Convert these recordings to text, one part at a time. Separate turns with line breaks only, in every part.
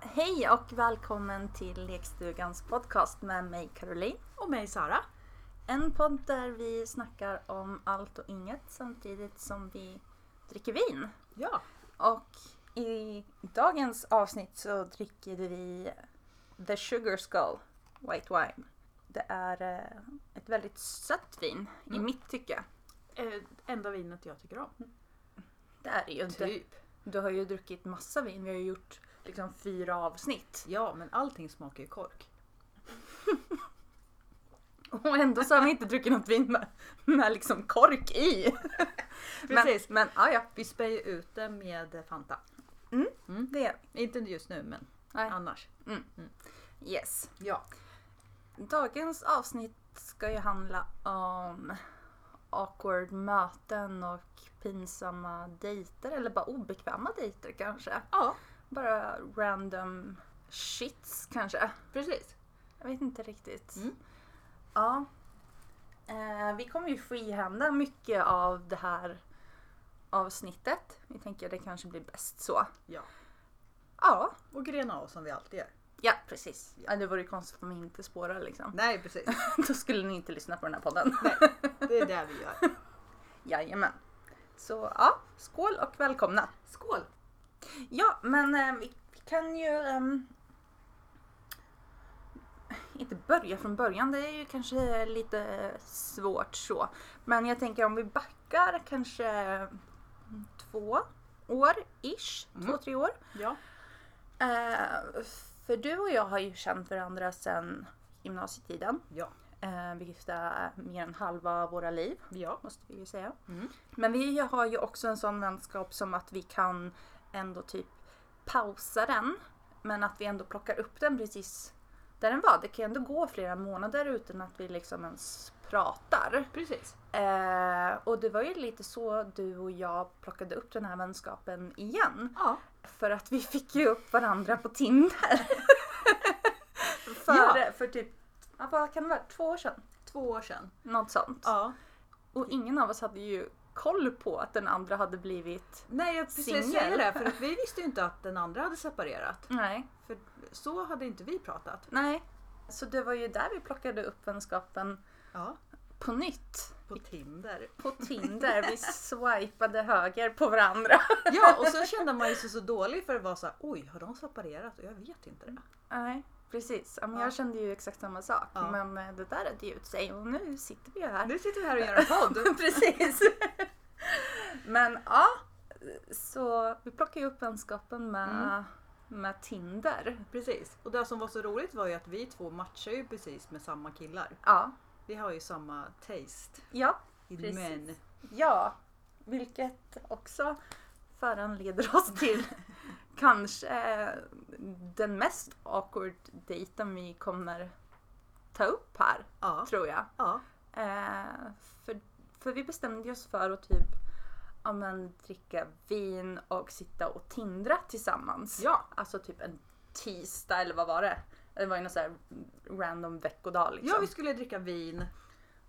Hej och välkommen till Lekstugans podcast med mig Caroline.
Och mig Sara.
En podd där vi snackar om allt och inget samtidigt som vi dricker vin.
Ja.
Och i dagens avsnitt så dricker vi The Sugar Skull White Wine. Det är eh, ett väldigt sött vin i
Mm.
mitt tycke.
Eh, enda vinet jag tycker om.
Det är det ju inte.
Typ.
Du har ju druckit massa vin. Vi har ju gjort liksom fyra avsnitt.
Ja, men allting smakar ju kork.
Och ändå så har vi inte druckit något vin med, med liksom kork i.
Precis.
Men, men ja, ja,
Vi spär ju ut det med Fanta.
det är
Inte just nu, men
Nej.
annars.
Yes.
Ja.
Dagens avsnitt ska ju handla om awkward möten och pinsamma dejter eller bara obekväma dejter kanske.
Ja,
Bara random shits kanske.
precis.
Jag vet inte riktigt.
Mm.
Ja. Eh, vi kommer ju freehanda mycket av det här avsnittet. Vi tänker att det kanske blir bäst så.
Ja.
Ja,
Och grena av som vi alltid gör.
ja precis. Ja. Det vore konstigt om vi inte spårar liksom.
Nej, precis.
Då skulle ni inte lyssna på den här podden.
Det är det vi gör.
Jajamän. Så ja, skål och välkomna.
Skål!
Ja, men eh, vi vi kan ju... ehm, inte börja från början, det är ju kanske lite svårt så. Men jag tänker om vi backar kanske mm, två år ish,
Mm.
två, tre år.
Ja.
Eh, för du och jag har ju känt varandra sedan gymnasietiden.
Ja.
Eh, vilket är mer än halva våra liv
Ja.
måste vi ju säga.
Mm.
Men vi har ju också en sån vänskap som att vi kan ändå typ pausa den. Men att vi ändå plockar upp den precis där den var. Det kan ju ändå gå flera månader utan att vi liksom ens pratar.
Precis.
Eh, och det var ju lite så du och jag plockade upp den här vänskapen igen.
Ja.
För att vi fick ju upp varandra på Tinder. för,
Ja.
för typ, ja, vad kan det vara, två år sedan?
Två år sedan.
Något sånt.
Ja.
Och ingen av oss hade ju koll på att den andra hade blivit...
Nej, jag precis
Singel.
säger det. För att vi visste ju inte att den andra hade separerat.
Nej.
För så hade inte vi pratat.
Nej. Så det var ju där vi plockade upp vänskapen
Ja.
på nytt.
På Tinder.
På Tinder. Vi swipade höger på varandra.
Ja, och sen kände man ju sig så dålig för det var så här, oj, har de separerat? Och jag vet inte det.
Nej, precis. Ja, men
Ja.
jag kände ju exakt samma sak.
Ja.
Men eh, det där hade ju ut sig och nu sitter vi ju här.
Nu sitter vi här och gör en podd.
precis. men ja. Så vi plockade ju upp vänskapen med, med Tinder.
Precis. Och det som var så roligt var ju att vi två matchar ju precis med samma killar.
Ja.
Vi har ju samma taste
Ja,
in
Precis.
men.
Ja, vilket också föranleder oss till kanske den mest awkward dejten vi kommer ta upp här,
Ja.
tror jag.
ja.
Eh, för, för vi bestämde oss för att typ ja, men, dricka vin och sitta och tindra tillsammans.
Ja.
Alltså typ en tisdag eller vad var det? Det var ju någon sån här random veckodag liksom.
Ja, vi skulle dricka vin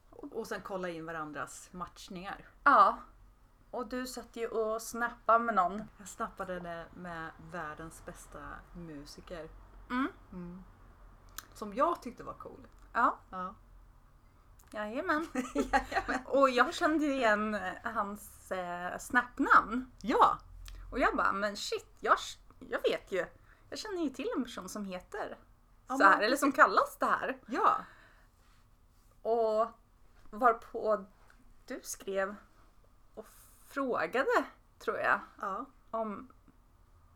och sen kolla in varandras matchningar.
ja. Och du satt ju och snappade med någon.
Jag snappade det med världens bästa musiker.
Mm.
Mm. Som jag tyckte var cool.
Ja.
Ja.
Jajamän. Och jag kände igen eh, hans eh, snapnamn.
Ja!
Och jag bara, men shit, jag, jag vet ju. Jag känner ju till en person som heter
Ja,
så här,
men-
eller som kallas det här.
Ja!
Och varpå du skrev och frågade, tror jag,
ja.
om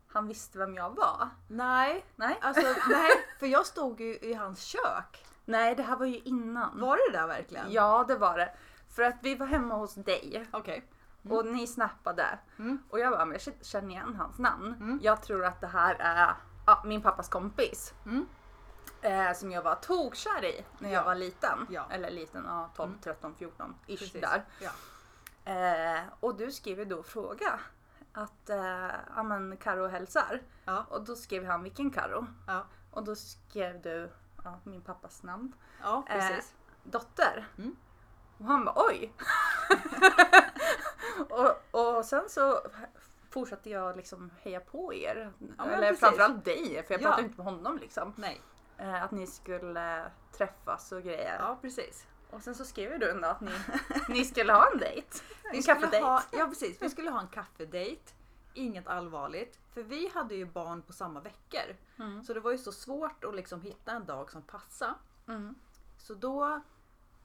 han visste vem jag var.
Nej,
Nej,
Alltså nej, för jag stod ju i hans kök.
Nej det här var ju innan.
Var det där verkligen?
Ja, det var det. För att vi var hemma hos dig
Okej.
Mm. Och ni snappade.
Mm.
Och jag bara, men jag känner igen hans namn.
Mm.
Jag tror att det här är ja, min pappas kompis.
Mm.
Eh, som jag var tokkär i när jag
Ja.
var liten.
Ja.
Eller liten, ja, 12,
Mm.
13, 14 ish
Precis.
där.
Ja.
Eh, och du skrev ju då fråga. Att, eh, ja men Karo hälsar.
Ja.
Och då skrev han, vilken Karo?
Ja.
Och då skrev du, ja, min pappas namn
ja, precis.
dotter.
Mm.
Och han bara oj. och, och sen så fortsatte jag liksom heja på er.
men
Eller
precis.
framförallt dig, för jag
Ja.
pratade inte med honom liksom.
Nej.
Eh, att ni skulle träffas och grejer.
Ja, precis.
Och sen så skrev ju du en dag att ni, ni skulle ha en dejt.
Vi
En
skulle,
kaffedejt.
ha, Mm. ja, precis. vi skulle ha en kaffedejt. Inget allvarligt. För vi hade ju barn på samma veckor.
Mm.
Så det var ju så svårt att liksom hitta en dag som passade.
Mm.
Så då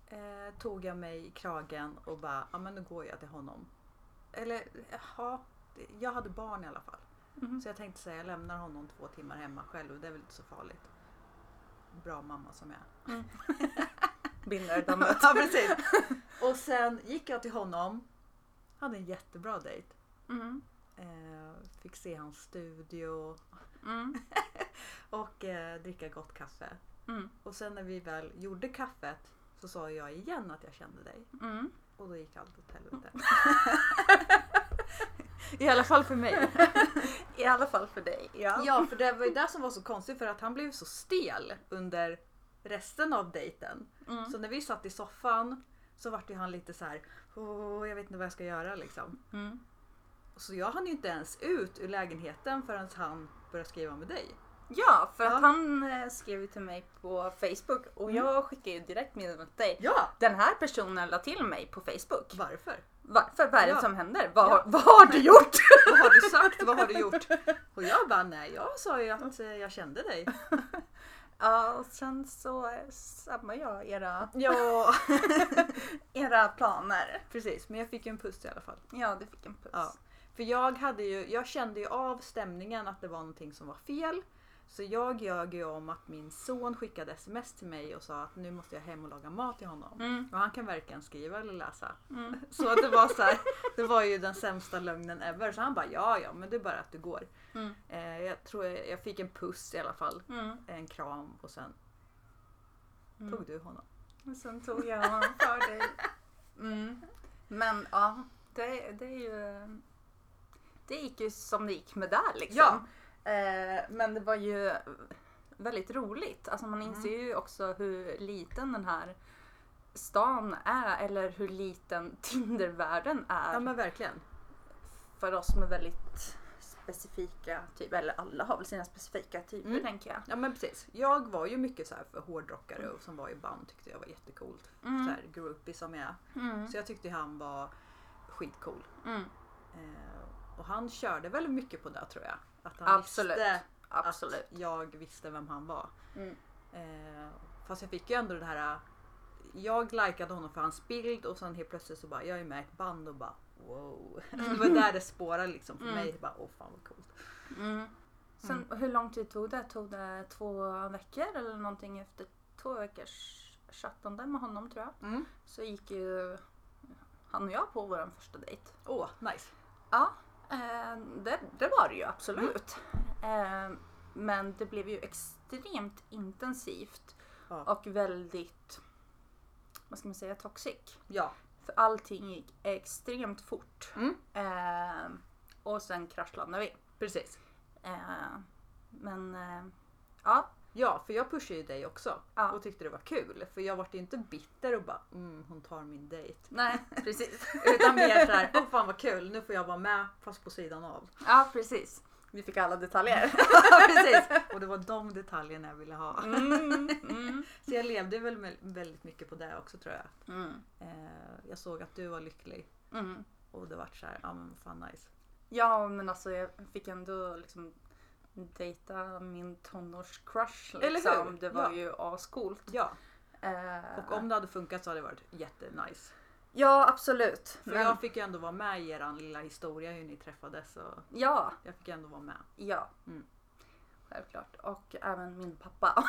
eh, tog jag mig i kragen och bara, ja men nu går jag till honom. Eller ja, det- jag hade barn i alla fall.
Mhm.
Så jag tänkte säga, jag lämnar honom två timmar hemma själv och det är väl inte så farligt. Bra mamma som jag är.
Binder
ja precis. Och sen gick jag till honom. Hade en jättebra dejt.
Mm.
Eh, fick se hans studio
Mm.
och eh, dricka gott kaffe.
Mm.
Och sen när vi väl gjorde kaffet så sa jag igen att jag kände dig.
Mm.
Och då gick allt åt helvete. I alla fall för mig.
I alla fall för dig. Ja.
Ja, för det var ju det som var så konstigt för att han blev så stel under resten av dejten.
Mm.
Så när vi satt i soffan så vart ju han lite så här, "Åh, jag vet inte vad jag ska göra liksom.
Mm.
Så jag hann ju inte ens ut ur lägenheten förrän han började skriva med dig.
ja, för att
Ja.
han eh, skrev ju till mig på Facebook och
Mm.
jag skickade ju direkt meddelandet till dig.
Ja!
Den här personen la till mig på Facebook.
Varför?
Varför? Vad är det
Ja.
som händer? Vad,
Ja.
vad har du gjort?
Vad har du sagt? Vad har du gjort? Och jag bara, nej jag sa ju att eh, jag kände dig.
Ja, och sen så sabbar jag era,
Ja,
era planer.
precis. Men jag fick ju en puss i alla fall.
Ja, du fick en puss.
Ja. För jag, hade ju, jag kände ju av stämningen att det var någonting som var fel. Så jag ljög ju om att min son skickade sms till mig och sa att nu måste jag hem och laga mat till honom.
Mm,
Och han kan varken skriva eller läsa.
mm,
Så det var så här, det var ju den sämsta lögnen ever. Så han bara ja ja men det är bara att du går.
Mm.
Eh, jag tror jag, jag fick en puss i alla fall.
mm,
En kram och sen
mm.
tog du honom.
Och sen tog jag honom för dig. Mm. Men ja, det, det är ju... Det gick ju som det gick med där liksom.
Ja.
Eh, men det var ju väldigt roligt. Alltså man
Mm.
inser ju också hur liten den här stan är eller hur liten Tindervärlden är.
Ja men verkligen.
för oss som är väldigt specifika typer, eller alla har väl sina specifika typer
Mm.
tänker jag.
Ja men precis. Jag var ju mycket så här för hårdrockare och som var i band tyckte jag var jättecoolt.
Mm.
Så här groupie som jag är.
Mm.
Så jag tyckte han var skitcool.
Mm.
Eh, och han körde väl mycket på det tror jag. Att han
Absolut.
visste
Absolut.
att jag visste vem han var.
Mm.
Eh, fast jag fick ju ändå det här. Jag likade honom för hans bild och sen helt plötsligt så bara jag är med i ett band och bara wow. Det var där det spårade liksom för
Mm.
mig. Bara, Åh fan vad coolt.
Mm. Sen, Hur lång tid tog det? Tog det två veckor eller någonting efter två veckors chattande med honom tror jag.
Mm.
Så gick ju han och jag på vår första dejt.
Åh nice.
Ja, eh, det, det var det ju absolut.
Mm.
Eh, men det blev ju extremt intensivt
Ja.
och väldigt, vad ska man säga, toxic.
Ja.
För allting gick extremt fort.
Mm.
Eh, och sen kraschlandade vi.
Precis.
Eh, men eh, ja,
Ja, för jag pushade ju dig också
Ja.
och tyckte det var kul. För jag vart ju inte bitter och bara mm, hon tar min dejt.
nej precis.
Utan mer såhär, åh fan vad kul, nu får jag vara med fast på sidan av.
ja, precis. Vi fick alla detaljer.
Ja, precis. Och det var de detaljerna jag ville ha.
Mm, mm,
Så jag levde väl med, väldigt mycket på det också tror jag.
mm,
Eh, jag såg att du var lycklig
mm.
och det vart såhär, ja men fan nice.
Ja men alltså jag fick ändå liksom dejta min tonårscrush liksom.
Eller hur?
Det var
Ja.
ju ascoolt.
Ja,
Eh,
och om det hade funkat så hade det varit jättenice.
Ja absolut.
För
Men,
jag fick ju ändå vara med i eran lilla historia hur ni träffades och
Ja,
jag fick ändå vara med.
ja.
Mm.
Självklart. Och även min pappa.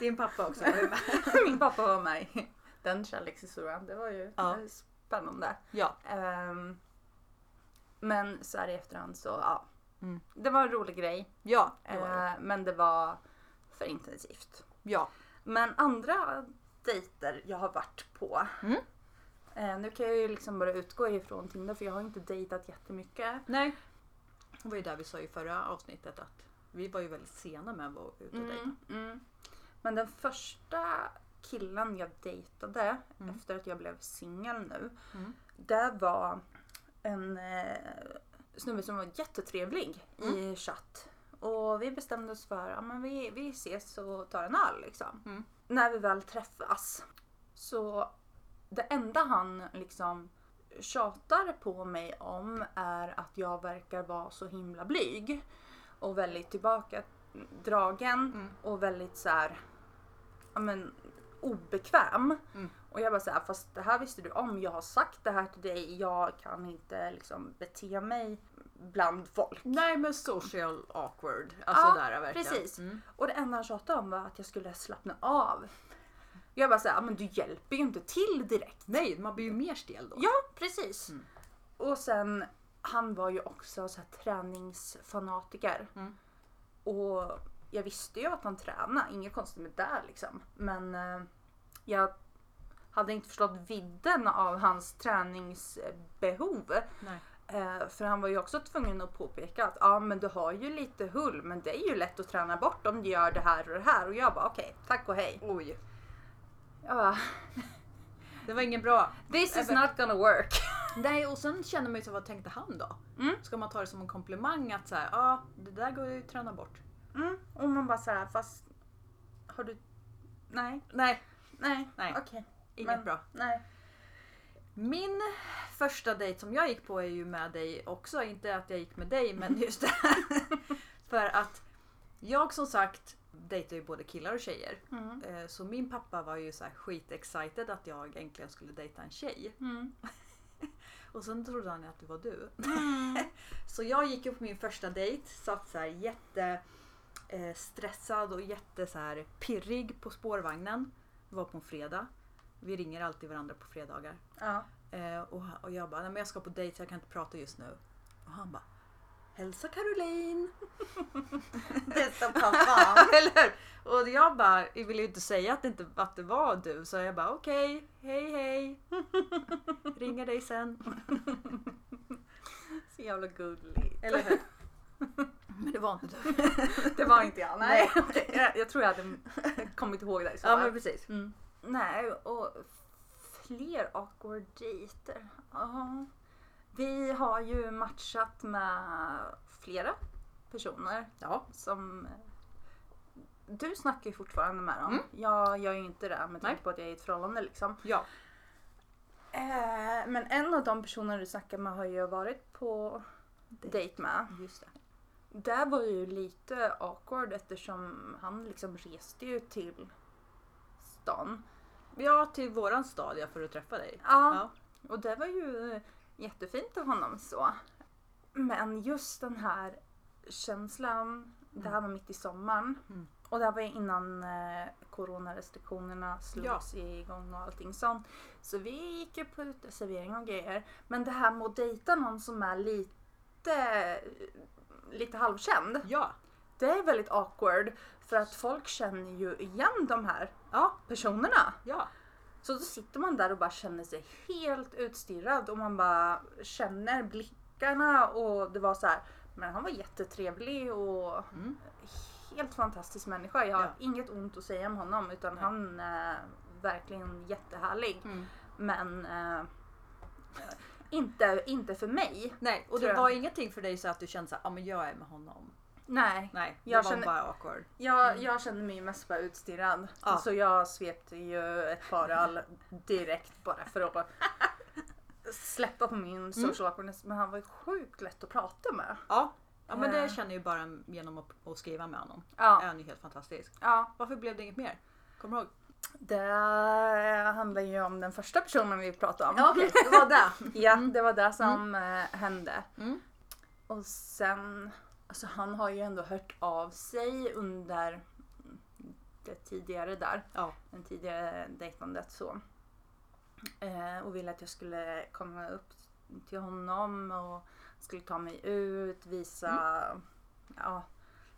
Din pappa också var ju med.
min pappa var med i den kärlekshistorien. Det var ju
Ja.
eh, spännande.
Ja.
Ehm, men så här i efterhand så ja.
Mm.
Det var en rolig grej.
Ja, det var det.
eh, men det var för intensivt.
ja.
Men andra dejter jag har varit på.
Mm.
Eh, nu kan jag ju liksom bara utgå ifrån Tinder för jag har inte dejtat jättemycket.
Nej. Det var ju där vi sa i förra avsnittet att vi var ju väldigt sena med att vara ute och dejta.
Mm. Men den första killen jag dejtade
Mm.
efter att jag blev singel nu.
Mm.
Det var en eh, snubbe som var jättetrevlig i
Mm.
chatt. Och vi bestämde oss för att men vi, vi ses och tar en öl liksom.
Mm.
När vi väl träffas så det enda han liksom tjatar på mig om är att jag verkar vara så himla blyg. Och väldigt tillbakadragen
Mm.
och väldigt så här, ja men obekväm.
Mm.
Och jag bara såhär, fast det här visste du om, jag har sagt det här till dig, jag kan inte liksom bete mig bland folk.
Nej men social awkward. Alltså
Ja,
där verkligen.
precis.
Mm.
Och det enda han tjatade om var att jag skulle slappna av. Jag bara såhär, men du hjälper ju inte till direkt.
Nej, man blir ju mer stel då. Mm.
Ja, precis. Och sen, han var ju också så här träningsfanatiker.
Mm.
Och jag visste ju att han tränade, inget konstigt med det liksom. Men eh, jag hade inte förstått vidden av hans träningsbehov.
Nej.
Eh, för han var ju också tvungen att påpeka att ja men du har ju lite hull men det är ju lätt att träna bort om du gör det här och det här. Och jag bara okej, tack och hej.
Oj,
Jag bara,
det var ingen bra.
This is
Jag bara-
not gonna work.
Nej och sen känner man ju så vad tänkte han då?
Mm.
Ska man ta det som en komplimang att såhär, ja ah, det där går ju att träna bort.
Mm. Och man bara såhär fast har du... Nej,
Nej,
nej,
Nej.
okej,
inget
Men-
bra.
nej.
Min första dejt som jag gick på är ju med dig också. Inte att jag gick med dig men just det här. För att jag som sagt dejtar ju både killar och tjejer.
Mm.
Eh, Så min pappa var ju så här skitexcited att jag äntligen skulle dejta en tjej.
Mm.
Och sen trodde han ju att det var du. Mm. Så jag gick ju på min första dejt, satt så här jätte eh, stressad och jätte så här pirrig på spårvagnen. Det var på en fredag. Vi ringer alltid varandra på fredagar.
Ja.
Eh, och, han- och jag bara, nej men jag ska på dejt så jag kan inte prata just nu. Och han bara, hälsa Caroline!
Bästa pappa.
Eller hur? Och jag bara, jag ville ju inte säga att det, inte, att det var du så jag bara okej, hej hej. Ringer dig sen.
Så jävla gulligt.
Eller hur? Men det var inte du.
Det var inte jag, nej. jag, jag tror jag hade kommit ihåg det i så
Ja
fall.
men precis.
Mm. Nej, och fler awkward dejter. Ja. Vi har ju matchat med flera personer
Ja.
som... Du snackar ju fortfarande med dem.
Mm.
Jag gör ju inte det med tanke
Nej.
på att jag är i ett förhållande liksom.
Ja.
Eh, men en av de personer du snackar med har ju varit på dejt med.
Just det.
Det var ju lite awkward eftersom han liksom reste ju till stan.
Ja, till våran stad ja, för att träffa dig.
Ja,
Ja.
och det var ju eh, jättefint av honom så. Men just den här känslan, det här var mitt i sommaren.
Mm.
Och det här var ju innan eh, coronarestriktionerna slogs igång och allting sånt. Så vi gick ju på uteservering och grejer. Men det här med att dejta någon som är lite, eh, lite halvkänd.
Ja.
Det är väldigt awkward. För att folk känner ju igen de här
Ja.
personerna.
Ja.
Så då sitter man där och bara känner sig helt utstirrad och man bara känner blickarna och det var så här. Men han var jättetrevlig och
Mm.
helt fantastisk människa. Jag har
Ja.
inget ont att säga om honom utan
Nej.
han är verkligen jättehärlig.
Mm.
Men eh, inte, inte för mig.
Nej, och
Tror
det
jag.
var ingenting för dig så att du kände såhär, ja ah, men jag är med honom.
Nej,
Nej, det
Jag
var
känner-
bara awkward.
jag, jag kände mig mest bara utstirrad.
Mm. Ja.
Så jag svepte ju ett par öl direkt bara för att släppa på
Mm.
min social awkwardness. Men han var ju sjukt lätt att prata med.
Ja. Ja men
Eh.
det känner jag ju bara genom att, att skriva med honom. Ja.
Ja,
Han är ju helt fantastisk.
ja.
Varför blev det inget mer? Kommer du ihåg?
Det handlar ju om den första personen vi pratade om.
okej, det var det.
Ja, det var det som eh, hände.
Mm.
Och sen, alltså han har ju ändå hört av sig under det tidigare där,
Ja.
den tidigare dejtandet så. Eh, och ville att jag skulle komma upp till honom och skulle ta mig ut, visa
Mm.
ja,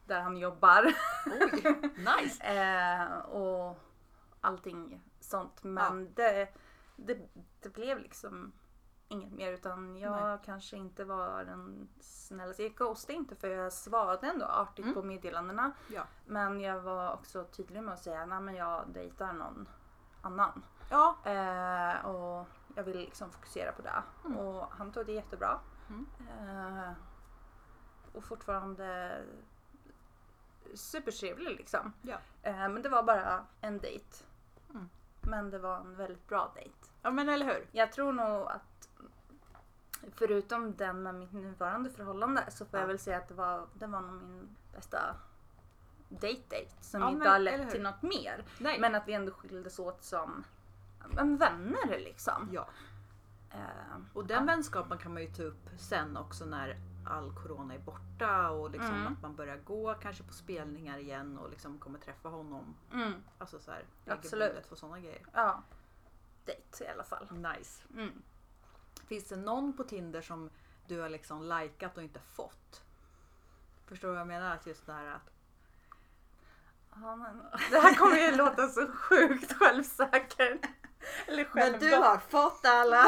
där han jobbar
Oj, nice!
eh, och allting sånt. Men det, det, det blev liksom inget mer utan jag kanske inte var den snällaste. Jag ghostade inte för jag svarade ändå artigt
Mm.
på meddelandena.
Ja.
Men jag var också tydlig med att säga nej men jag dejtar någon annan.
Ja,
Eh, och jag vill liksom fokusera på det.
Mm.
Och han tog det jättebra.
Mm.
Eh, och fortfarande supertrevlig liksom.
Ja.
Eh, men det var bara en dejt.
Mm.
Men det var en väldigt bra dejt.
Ja men eller hur?
Jag tror nog att förutom den med mitt nuvarande förhållande så får
Ja.
jag väl säga att det var, det var nog min bästa date-date som
Ja,
inte
men-
har
eller
lett
hur?
till något mer.
Nej.
Men att vi ändå skildes åt som en vänner liksom.
Ja.
Eh,
Och den
Ja.
vänskapen kan man ju ta upp sen också när all corona är borta och liksom
Mm.
att man börjar gå kanske på spelningar igen och liksom kommer träffa honom.
mm,
Alltså så här
Absolut.
regelbundet och sådana grejer.
ja. Dejt i alla fall.
Nice.
Mm.
Finns det någon på Tinder som du har liksom likat och inte fått? Förstår du vad jag menar? Att just det här att
Ja, men, det här kommer ju låta så sjukt självsäker. Eller självgott.
har fått alla!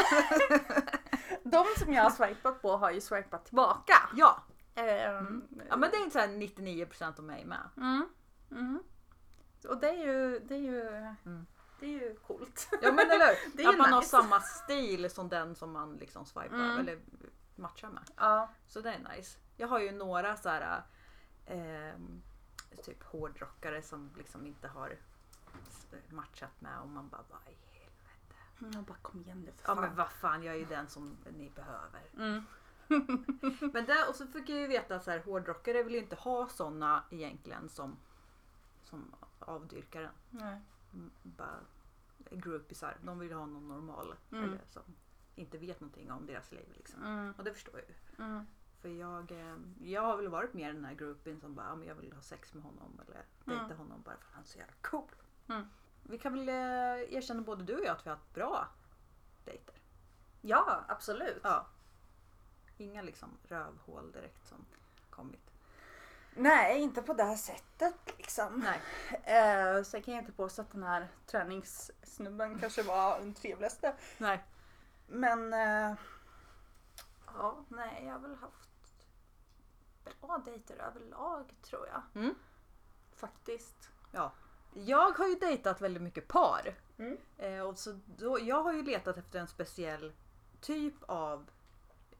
De som jag har swipat på har ju swipat tillbaka.
Ja,
Ehm,
ja men det är inte så här 99% av mig med.
Mm. Mm. Och det är ju, det är ju,
Mm.
det är ju coolt.
Ja men eller hur?
Det är
Att
ju
man har
nice.
samma stil som den som man liksom swipar
Mm.
eller matchar med.
Ja.
Så det är nice. Jag har ju några så här ehm, typ hårdrockare som liksom inte har matchat med och man bara vad i helvete.
Mm, Jag bara kom igen nu för
Ja
fan.
men vad fan jag är ju den som ni behöver.
mm.
Men där, och så fick jag ju veta att så här, hårdrockare vill ju inte ha såna egentligen som, som avdyrkar den.
Nej.
Mm, Bara groupisar. De vill ha någon normal.
Mm.
Eller som inte vet någonting om deras liv. Liksom.
Mm.
Och det förstår jag ju.
Mm.
För jag, eh, jag har väl varit mer den här groupien som bara, ja, men jag vill ha sex med honom eller dejta
Mm.
honom bara för att han är så jävla cool.
Mm.
Vi kan väl eh, erkänna både du och jag att vi har haft bra dejter.
Ja, absolut.
Ja. Inga liksom rövhål direkt som kommit.
Nej, inte på det här sättet liksom.
Nej.
Eh, sen kan jag inte påstå att den här träningssnubben kanske var den trevligaste.
Nej.
Men eh, ja, nej, jag har väl haft bra dejter överlag tror jag.
Mm.
Faktiskt.
Jag har ju dejtat väldigt mycket par.
Mm.
Eh, och så då, jag har ju letat efter en speciell typ av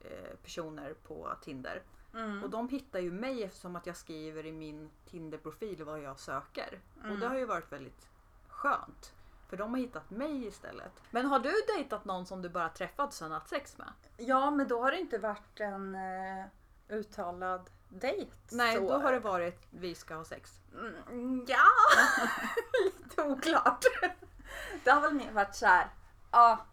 eh, personer på Tinder.
Mm.
Och de hittar ju mig eftersom att jag skriver i min Tinder-profil vad jag söker. Och
Mm.
det har ju varit väldigt skönt. För de har hittat mig istället. Men har du dejtat någon som du bara träffat och sen haft sex med?
Ja, men då har det inte varit en eh, uttalad dejt.
Nej,
så.
då har det varit vi ska ha sex.
Mm, ja, lite oklart. Det har väl mer varit så här. Ja.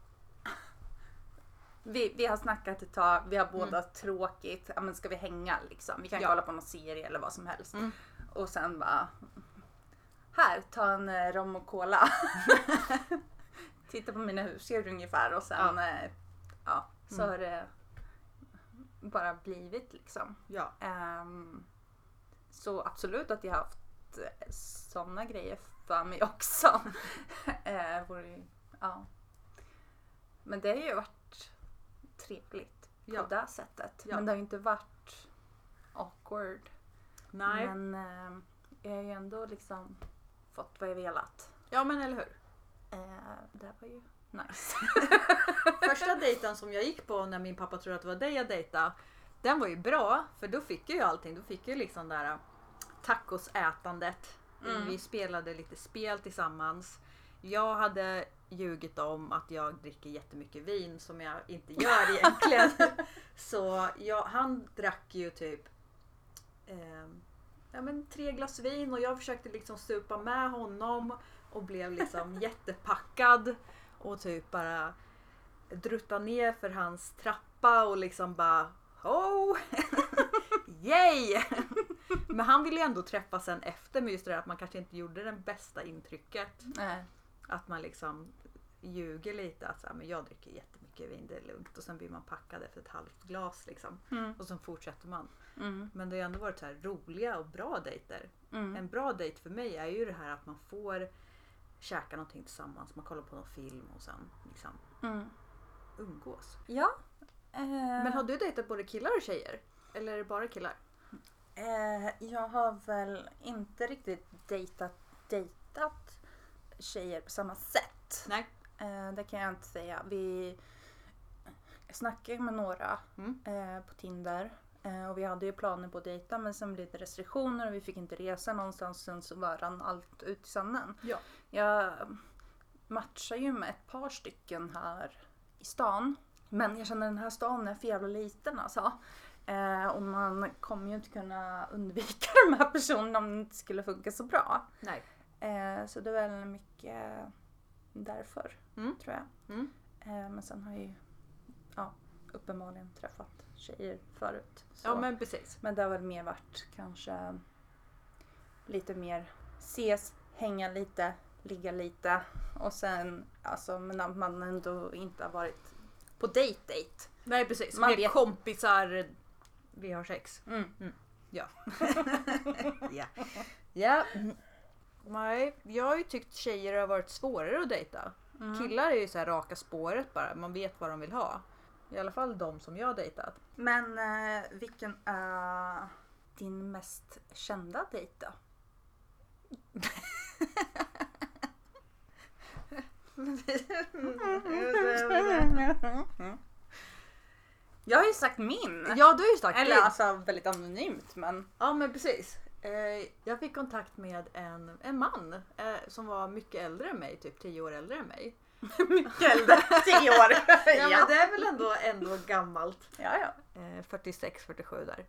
Vi, vi har snackat ett tag, vi har båda tråkigt. Ja, men ska vi hänga liksom? Vi kan
Mm. Ja.
kolla på någon serie eller vad som helst.
Mm.
Och sen bara. Här, ta en eh, rom och cola. Titta på mina husdjur ungefär och sen.
Ja.
eh, Ja, så
Mm.
har det bara blivit liksom.
Ja.
Ehm, så absolut att jag har haft sådana grejer för mig också. uh, vore, ju- ja. Men det har ju varit trevligt
Ja.
på det sättet.
Ja.
Men det har ju inte varit awkward.
Nej.
Men ehm, jag har ju ändå liksom fått vad jag velat.
Ja men eller hur.
Eh, det var ju nice.
Första dejten som jag gick på när min pappa trodde att det var dig jag dejtade. Den var ju bra för då fick jag ju allting. Då fick jag ju liksom det här äh, tacosätandet.
Mm.
Vi spelade lite spel tillsammans. Jag hade ljugit om att jag dricker jättemycket vin som jag inte gör egentligen. Så jag, han drack ju typ ehm, ja, men tre glas vin och jag försökte liksom supa med honom och blev liksom jättepackad och typ bara drutta ner för hans trappa och liksom bara ho! Yay! Men han ville ju ändå träffa sen efter med just det där att man kanske inte gjorde det bästa intrycket.
Nej.
Att man liksom ljuger lite att så här, men jag dricker jättemycket vin, det är lugnt. Och sen blir man packad efter ett halvt glas liksom.
Mm.
Och sen fortsätter man.
Mm.
Men det har ju ändå varit så här roliga och bra dejter.
Mm.
En bra dejt för mig är ju det här att man får käka någonting tillsammans, man kollar på någon film och sen liksom
Mm.
umgås.
Ja. Eh,
Men har du dejtat både killar och tjejer? Eller är det bara killar?
Eh, jag har väl inte riktigt dejtat, dejtat tjejer på samma sätt.
Nej.
Eh, det kan jag inte säga. Vi jag snackar ju med några
Mm.
eh, på Tinder. Eh, Eh, Och vi hade ju planer på att dejta men sen blev det restriktioner och vi fick inte resa någonstans. Sen så var han allt ut i sanden.
Ja.
Jag matchar ju med ett par stycken här i stan. Men jag känner den här stan är för jävla liten alltså. Eh, och man kommer ju inte kunna undvika de här personerna om det inte skulle funka så bra.
Nej.
Eh, så det var väl mycket därför,
Mm.
tror jag.
Mm.
Eh, men sen har jag ju ja, uppenbarligen träffat tjejer förut. Så.
Ja men precis.
men det har väl mer varit kanske lite mer ses, hänga lite, ligga lite och sen alltså men att man ändå inte har varit på dejt-dejt.
Nej precis.
Man
Man vi är
vet-
kompisar. Vi har sex.
Mm.
Ja. ja. Nej, jag har ju tyckt tjejer har varit svårare att dejta. Killar är ju så här raka spåret bara. Man vet vad de vill ha. I alla fall de som jag har dejtat.
Men eh, vilken är din mest kända dejt då? Jag har ju sagt min.
ja, du har ju sagt
Eller
det.
alltså väldigt anonymt men.
Ja men precis. Eh, Jag fick kontakt med en, en man eh, som var mycket äldre än mig, typ 10 år äldre än mig.
Mycket äldre. Tio år.
Ja,
ja.
men det är väl ändå, ändå gammalt.
ja, ja.
Eh, 46-47 där.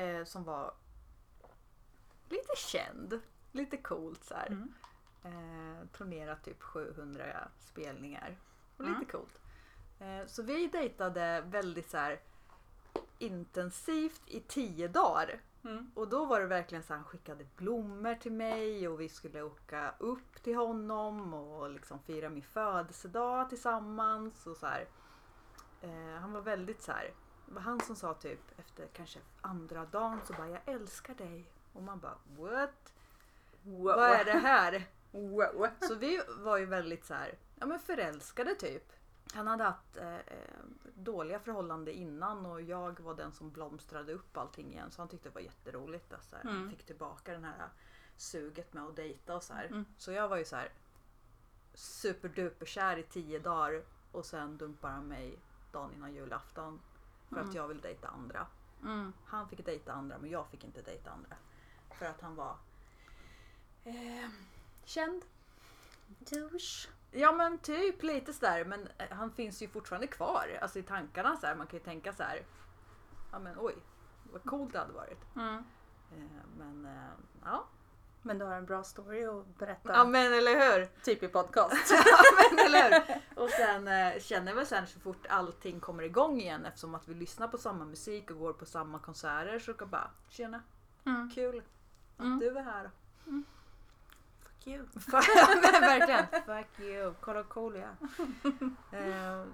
Eh, Som var lite känd, lite coolt så här.
Mm.
Eh, Turnerat typ 700 spelningar. Och
Mm.
lite coolt. Eh, Så vi dejtade väldigt så här intensivt i 10 dagar.
Mm.
Och då var det verkligen så här, han skickade blommor till mig och vi skulle åka upp till honom och liksom fira min födelsedag tillsammans. Och så här. Eh, han var väldigt så här. Det var han som sa typ efter kanske andra dagen så bara jag älskar dig. Och man bara what?
Wow.
Vad är det här?
Wow.
Så vi var ju väldigt så här, ja men förälskade typ. Han hade haft eh, eh, dåliga förhållanden innan och jag var den som blomstrade upp allting igen. Så han tyckte det var jätteroligt. Att, så här,
Mm.
Han fick tillbaka den här suget med att dejta och så här.
Mm.
Så jag var ju så här superduperkär i tio dagar och sen dumpar han mig dagen innan julafton. För att jag vill dejta andra.
Mm.
Han fick dejta andra men jag fick inte dejta andra. För att han var eh, känd.
Douche.
Ja men typ lite sådär men eh, han finns ju fortfarande kvar. Alltså i tankarna så här, man kan ju tänka så här. Ja men oj, vad coolt det hade varit.
Mm.
Eh, Men eh, ja.
Men du har en bra story att berätta.
Ja men eller hur.
typ i podcast.
ja men eller hur. Och sen eh, känner väl sen så fort allting kommer igång igen eftersom att vi lyssnar på samma musik och går på samma konserter så kan bara tjena,
Mm.
kul att
Mm.
du är här.
Fuck you.
men verkligen. Fuck you. Kolla hur cool jag är. Eh,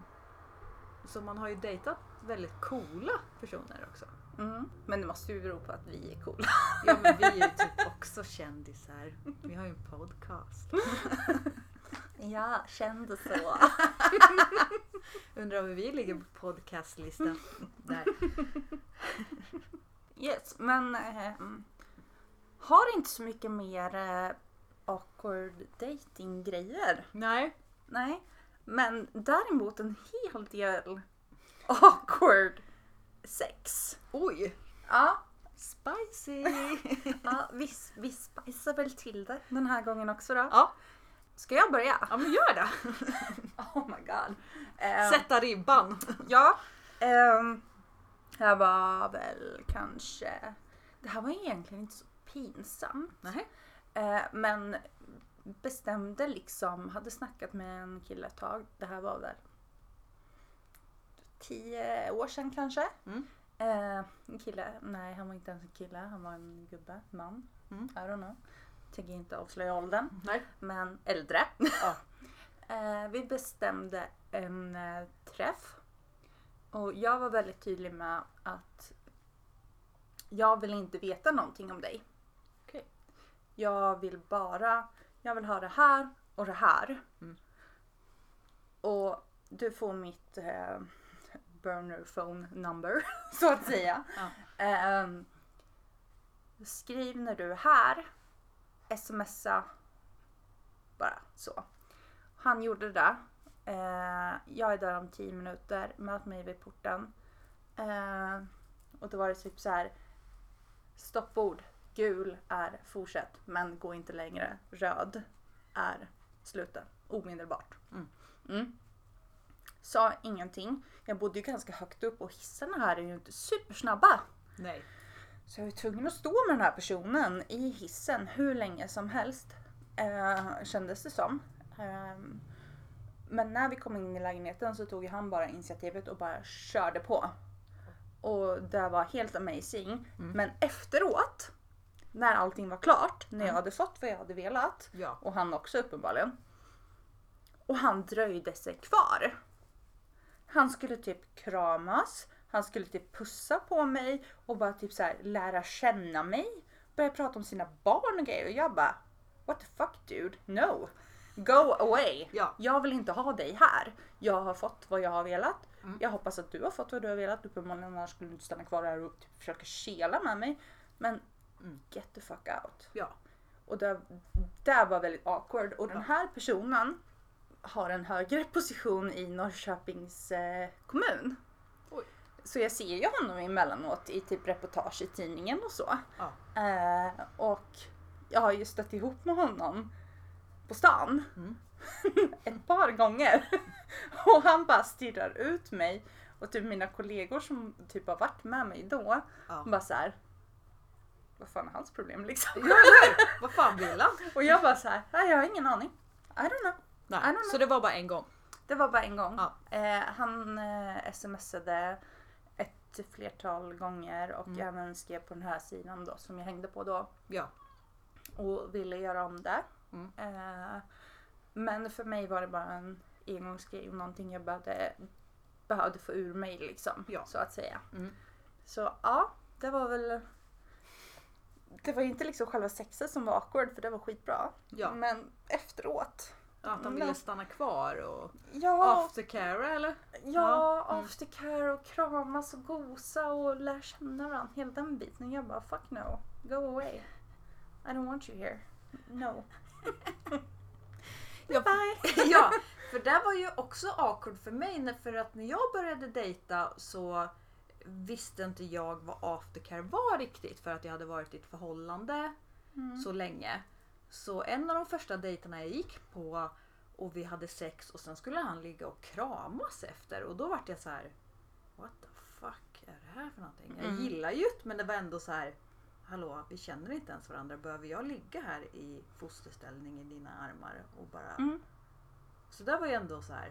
Så man har ju dejtat väldigt coola personer också.
Mm. Men det måste ju bero på att vi är coola.
Ja men vi är ju typ också kändisar. Vi har ju en podcast.
Ja, kände så.
Undrar hur vi ligger på podcastlistan. Där.
Yes, men ehm, har inte så mycket mer eh, awkward dating grejer.
Nej.
Nej, men däremot en hel del awkward sex.
Oj!
Ja,
Spicy!
ja vi, vi spicear väl till det den här gången också då.
Ja.
Ska jag börja?
Ja men gör det!
Oh my god. Ehm,
Sätta ribban!
Ja. Um, det här var väl kanske... Det här var egentligen inte så pinsamt.
Nej.
Eh, men bestämde liksom, hade snackat med en kille ett tag. Det här var väl tio år sedan kanske.
Mm.
Eh, en kille, nej han var inte ens en kille, han var en gubbe, man.
Mm.
I don't know. Tänker inte avslöja åldern,
Nej.
men äldre.
Ja.
Eh, vi bestämde en eh, träff. Och jag var väldigt tydlig med att jag vill inte veta någonting om dig.
Okej.
Jag vill bara, jag vill ha det här och det här.
Mm.
Och du får mitt eh, burner phone number så att säga.
Ja.
Ehm, skriv när du är här. Smsa bara så. Han gjorde det. Eh, jag är där om 10 minuter. Möt mig vid porten. Eh, Och då var det typ så här. Stoppord. Gul är fortsätt men gå inte längre. Röd är sluta omedelbart.
Mm.
Mm. Sa ingenting. Jag bodde ju ganska högt upp och hissarna här är ju inte supersnabba.
Nej.
Så jag var tvungen att stå med den här personen i hissen hur länge som helst. Eh, kändes det som. Ehm, men när vi kom in i lägenheten så tog ju han bara initiativet och bara körde på. Och det var helt amazing.
Mm.
Men efteråt, när allting var klart, när jag
Mm.
hade fått vad jag hade velat
Ja.
och han också uppenbarligen. Och han dröjde sig kvar. Han skulle typ kramas, han skulle typ pussa på mig och bara typ så här lära känna mig. Börja prata om sina barn och grejer och jag bara What the fuck dude? No! Go away!
Ja.
Jag vill inte ha dig här. Jag har fått vad jag har velat.
Mm.
Jag hoppas att du har fått vad du har velat. Uppenbarligen annars skulle du inte stanna kvar här och typ försöka kela med mig. Men
Mm.
get the fuck out.
Ja.
Och det, det var väldigt awkward. Och
Ja.
den här personen har en högre position i Norrköpings eh, kommun.
Oj.
Så jag ser ju honom emellanåt i typ reportage i tidningen och så.
Ja.
Eh, och jag har ju stött ihop med honom på stan
Mm.
ett par gånger. och han bara stirrar ut mig och typ mina kollegor som typ har varit med mig då,
Ja.
bara så här. Vad fan är hans problem liksom?
Ja, eller hur? Vad fan vill han?
Och jag bara så här, "Nej, jag har ingen aning. I don't know. I don't
Nej.
know.
Så det var bara en gång.
Det var bara en gång.
Ja.
Eh, han eh, smsade ett flertal gånger och
Mm.
även skrev på den här sidan då som jag hängde på då
Ja.
och ville göra om det.
Mm.
Eh, men för mig var det bara en engångsgrej och någonting jag behövde, behövde få ur mig liksom.
Ja.
Så att säga.
Mm.
Så ja, det var väl det var ju inte liksom själva sexet som var awkward för det var skitbra.
Ja.
Men efteråt.
Att han ville stanna kvar och
Ja,
aftercare eller?
Ja,
Mm.
aftercare och kramas och gosa och lära känna varandra. Hela den biten. Jag bara fuck no. Go away. I don't want you here. No.
Ja,
Bye.
ja, för det var ju också awkward för mig när- för att när jag började dejta så visste inte jag vad aftercare var riktigt för att jag hade varit i ett förhållande
Mm.
så länge. Så en av de första dejterna jag gick på och vi hade sex och sen skulle han ligga och kramas efter och då vart jag så här. What the fuck är det här för någonting? Jag
Mm.
gillar ju det men det var ändå så här. Hallå, vi känner inte ens varandra. Behöver jag ligga här i fosterställning i dina armar och bara
Mm.
så där var ju ändå så här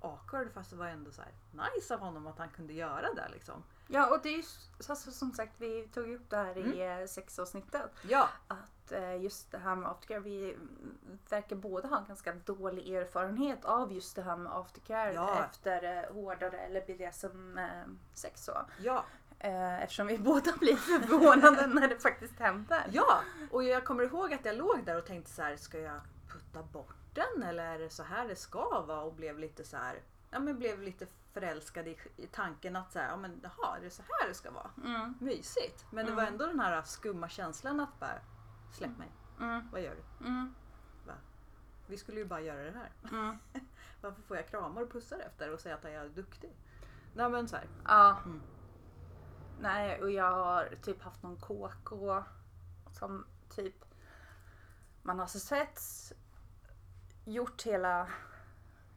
awkward fast det var ändå så här nice av honom att han kunde göra det liksom.
Ja, och det är ju s- alltså, som sagt, vi tog ju upp det här i eh, sexavsnittet.
Ja,
Att eh, just det här med aftercare, vi mm, verkar båda ha en ganska dålig erfarenhet av just det här med aftercare
Ja.
efter eh, hårdare eller BDSM-sex. så.
ja,
Eh, eftersom vi båda blir förvånade när det faktiskt händer.
ja! Och jag kommer ihåg att jag låg där och tänkte så här ska jag putta bort den eller är det så här det ska vara och blev lite så här ja men blev lite förälskad i, i tanken att så här, ja men jaha, är det så här det ska vara?
Mm,
Mysigt! Men det
Mm.
var ändå den här skumma känslan att bara släpp mig,
mm,
vad gör du?
mm,
Vi skulle ju bara göra det här.
mm.
Varför får jag kramar och pussar efter och säga att jag är duktig? Nej men så här,
Ja.
Mm.
Nej, och jag har typ haft någon KK som typ man har så sett gjort hela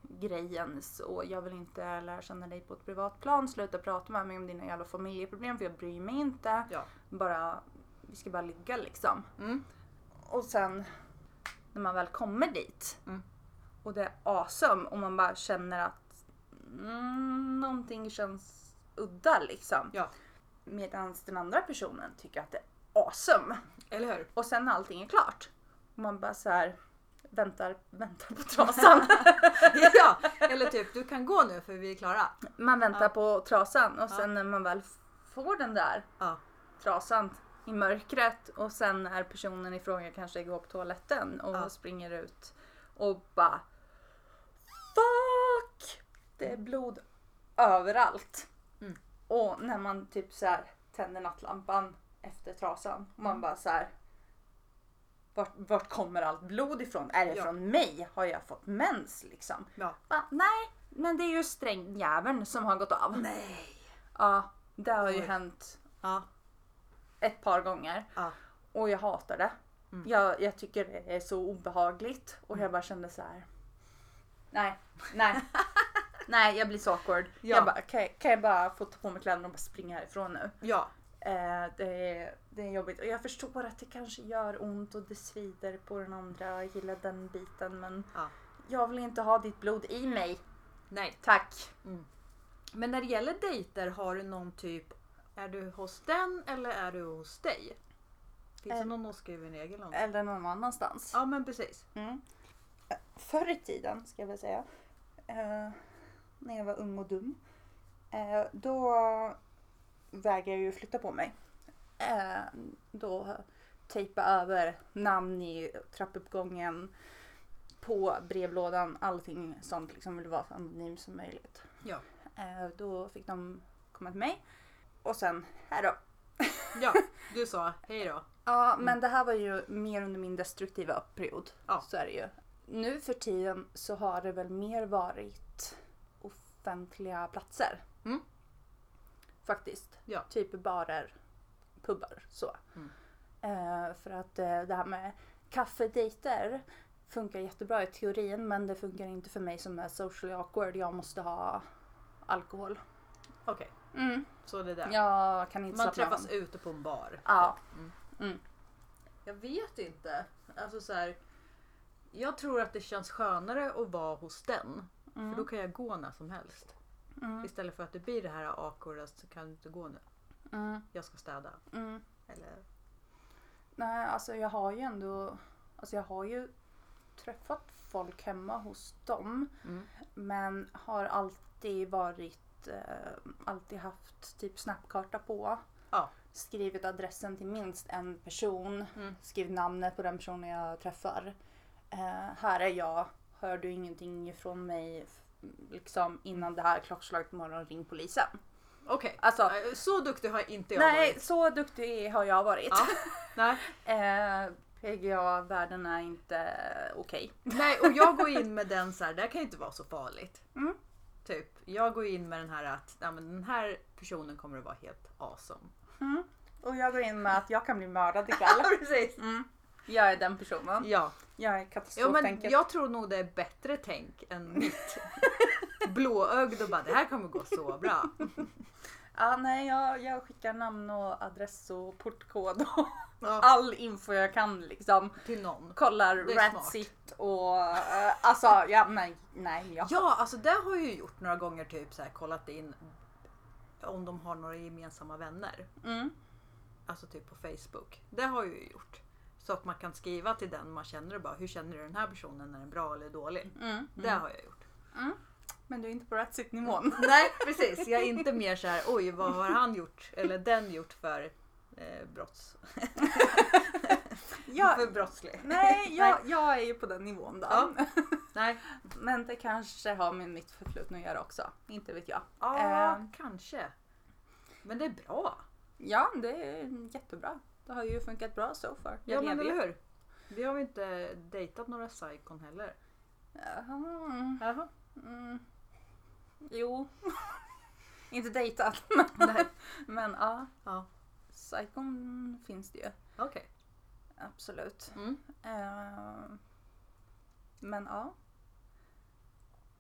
grejen så jag vill inte lära känna dig på ett privat plan. Sluta prata med mig om dina jävla familjeproblem för jag bryr mig inte.
ja.
Bara, vi ska bara ligga liksom.
Mm.
Och sen när man väl kommer dit
Mm.
och det är awesome och man bara känner att mm, någonting känns udda liksom.
Ja.
Medan den andra personen tycker att det är awesome.
Eller hur?
Och sen när allting är klart och man bara så här väntar, väntar på trasan.
ja, eller typ du kan gå nu för vi är klara.
Man väntar
Ja.
på trasan och
Ja.
sen när man väl f- får den där
Ja.
trasan i mörkret och sen när personen i fråga kanske går på toaletten och
Ja.
springer ut och bara Fuck! Det är blod överallt.
Mm.
Och när man typ så här tänder nattlampan efter trasan och
Mm.
man bara så här vart, vart kommer allt blod ifrån? Är det
Ja.
från mig? Har jag fått mens liksom?
ja.
Bara, Nej, men det är ju strängjäveln som har gått av.
Nej.
Ja, det har ju
Oj.
hänt
Ja.
ett par gånger.
Ja.
Och jag hatar det.
Mm.
Jag, jag tycker det är så obehagligt och jag bara kände så här. Nej, nej. nej, jag blir så awkward.
Ja.
Jag bara, kan, kan jag bara få ta på mig kläderna och bara springa härifrån nu?
Ja.
Eh, det, är, det är jobbigt och jag förstår att det kanske gör ont och det svider på den andra. Jag gillar den biten men
Ja.
jag vill inte ha ditt blod i mig.
Nej.
Tack!
Men när det gäller dejter, har du någon typ... Är du hos den eller är du hos dig? Finns det
Eh.
någon oskriven regel om det?
Eller någon annanstans.
Ja men precis.
Mm. Eh, Förr i tiden, ska jag väl säga, eh, när jag var ung och dum, eh, då vägrade jag ju flytta på mig. Eh, då tejpa över namn i trappuppgången, på brevlådan, allting sånt liksom ville vara så anonymt som möjligt.
Ja.
Eh, då fick de komma till mig och sen, här då.
Ja, du sa hej då.
Ja, men det här var ju mer under min destruktiva period.
Mm. Ja.
Så är det ju. Nu för tiden så har det väl mer varit offentliga platser.
Mm.
Faktiskt.
Ja.
Typ barer, pubbar så.
Mm.
Eh, för att eh, det här med kaffedejter funkar jättebra i teorin men det funkar inte för mig som är socially awkward. Jag måste ha alkohol.
Okej,
Mm.
så det där.
Jag kan inte
Man
slappna av.
träffas ute på en bar.
Ja.
Jag vet inte. Alltså så här, jag tror att det känns skönare att vara hos den.
Mm.
För då kan jag gå när som helst.
Mm.
Istället för att det blir det här awkwarda så kan du inte gå nu.
Mm.
Jag ska städa.
Mm.
Eller...
Nej, alltså jag har ju ändå... Alltså jag har ju träffat folk hemma hos dem.
Mm.
Men har alltid varit... Eh, alltid haft typ snapkarta på.
Ja.
Skrivit adressen till minst en person.
Mm.
Skrivit namnet på den personen jag träffar. Eh, här är jag. Hör du ingenting ifrån mig f- liksom innan det här klockslaget på morgonen, ring polisen.
Okej,
Alltså,
Eh, så duktig har inte jag
nej,
varit.
så duktig har jag varit.
Ja. Nej.
Eh, PGA-världen är inte okej.
Nej, och jag går in med den så här, det här kan ju inte vara så farligt.
Mm.
Typ, jag går in med den här att ja, men den här personen kommer att vara helt awesome.
Och jag går in med att jag kan bli mördad ikväll.
precis.
Jag är den personen.
Ja,
Jag är
ja men
katastroftänket.
jag tror nog det är bättre tänk än mitt blåögd och bara det här kommer gå så bra.
Ja, Ah, nej, jag, jag skickar namn och adress och portkod och
Ja.
all info jag kan liksom.
Till någon.
Kollar
Det är smart.
Ratsit och eh, alltså, ja, nej, nej, ja.
Ja, alltså det har jag ju gjort några gånger typ så här kollat in om de har några gemensamma vänner.
Mm.
Alltså typ på Facebook. Det har jag ju gjort. Så att man kan skriva till den man känner och bara hur känner du den här personen? Är den bra eller dålig?
Mm.
Det har jag gjort.
Men du är inte på Ratsit-nivån.
Nej precis, jag är inte mer så här oj vad har han gjort eller den gjort för eh, brotts...
Jag,
För brottslig.
nej, jag, jag är ju på den nivån då.
Ja. Nej.
Men det kanske har med mitt förflutna att göra också. Inte vet jag.
Ja,
Eh.
Ehm. kanske. Men det är bra.
Ja, det är jättebra. Det har ju funkat bra so far.
Ja
Jag
men
lever
eller
ju.
hur. Vi har ju inte dejtat några psykon heller.
Jaha.
Jaha.
Mm. Jo. Inte dejtat.
Nej.
Men ja.
Ja.
Psykon finns det ju.
Okej.
Absolut.
Mm.
Eh, men ja.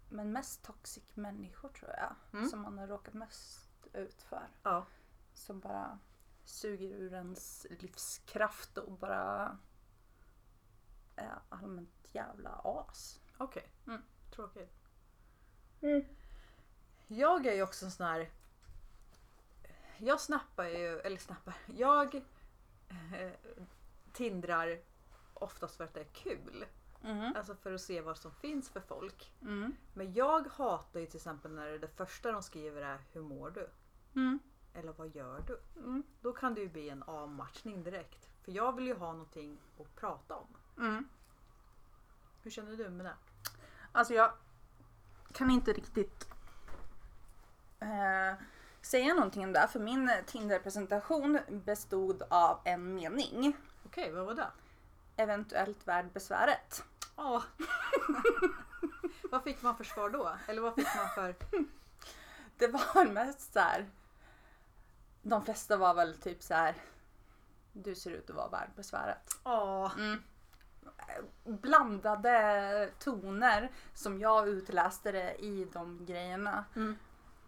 Men mest toxic människor tror jag.
Mm.
Som man har råkat mest ut för.
Ja.
Som bara suger ur ens livskraft och bara är allmänt jävla as.
Okej.
Mm.
Tråkigt. Jag är ju också en sån här... Jag snappar ju, eller snappar, jag eh, tindrar oftast för att det är kul.
Mm.
Alltså för att se vad som finns för folk.
Mm.
Men jag hatar ju till exempel när det första de skriver är Hur mår du?
Mm.
Eller vad gör du?
Mm.
Då kan det ju bli en avmatchning direkt. För jag vill ju ha någonting att prata om.
Mm.
Hur känner du med det?
Alltså jag kan inte riktigt eh, säga någonting om det här, för min Tinder-presentation bestod av en mening.
Okej, vad var det?
Eventuellt värd besväret.
Ja. vad fick man för svar då? Eller vad fick man för...
Det var mest så här. de flesta var väl typ så här. Du ser ut att vara värd besväret.
Ja.
Mm. Blandade toner som jag utläste det i de grejerna.
Mm.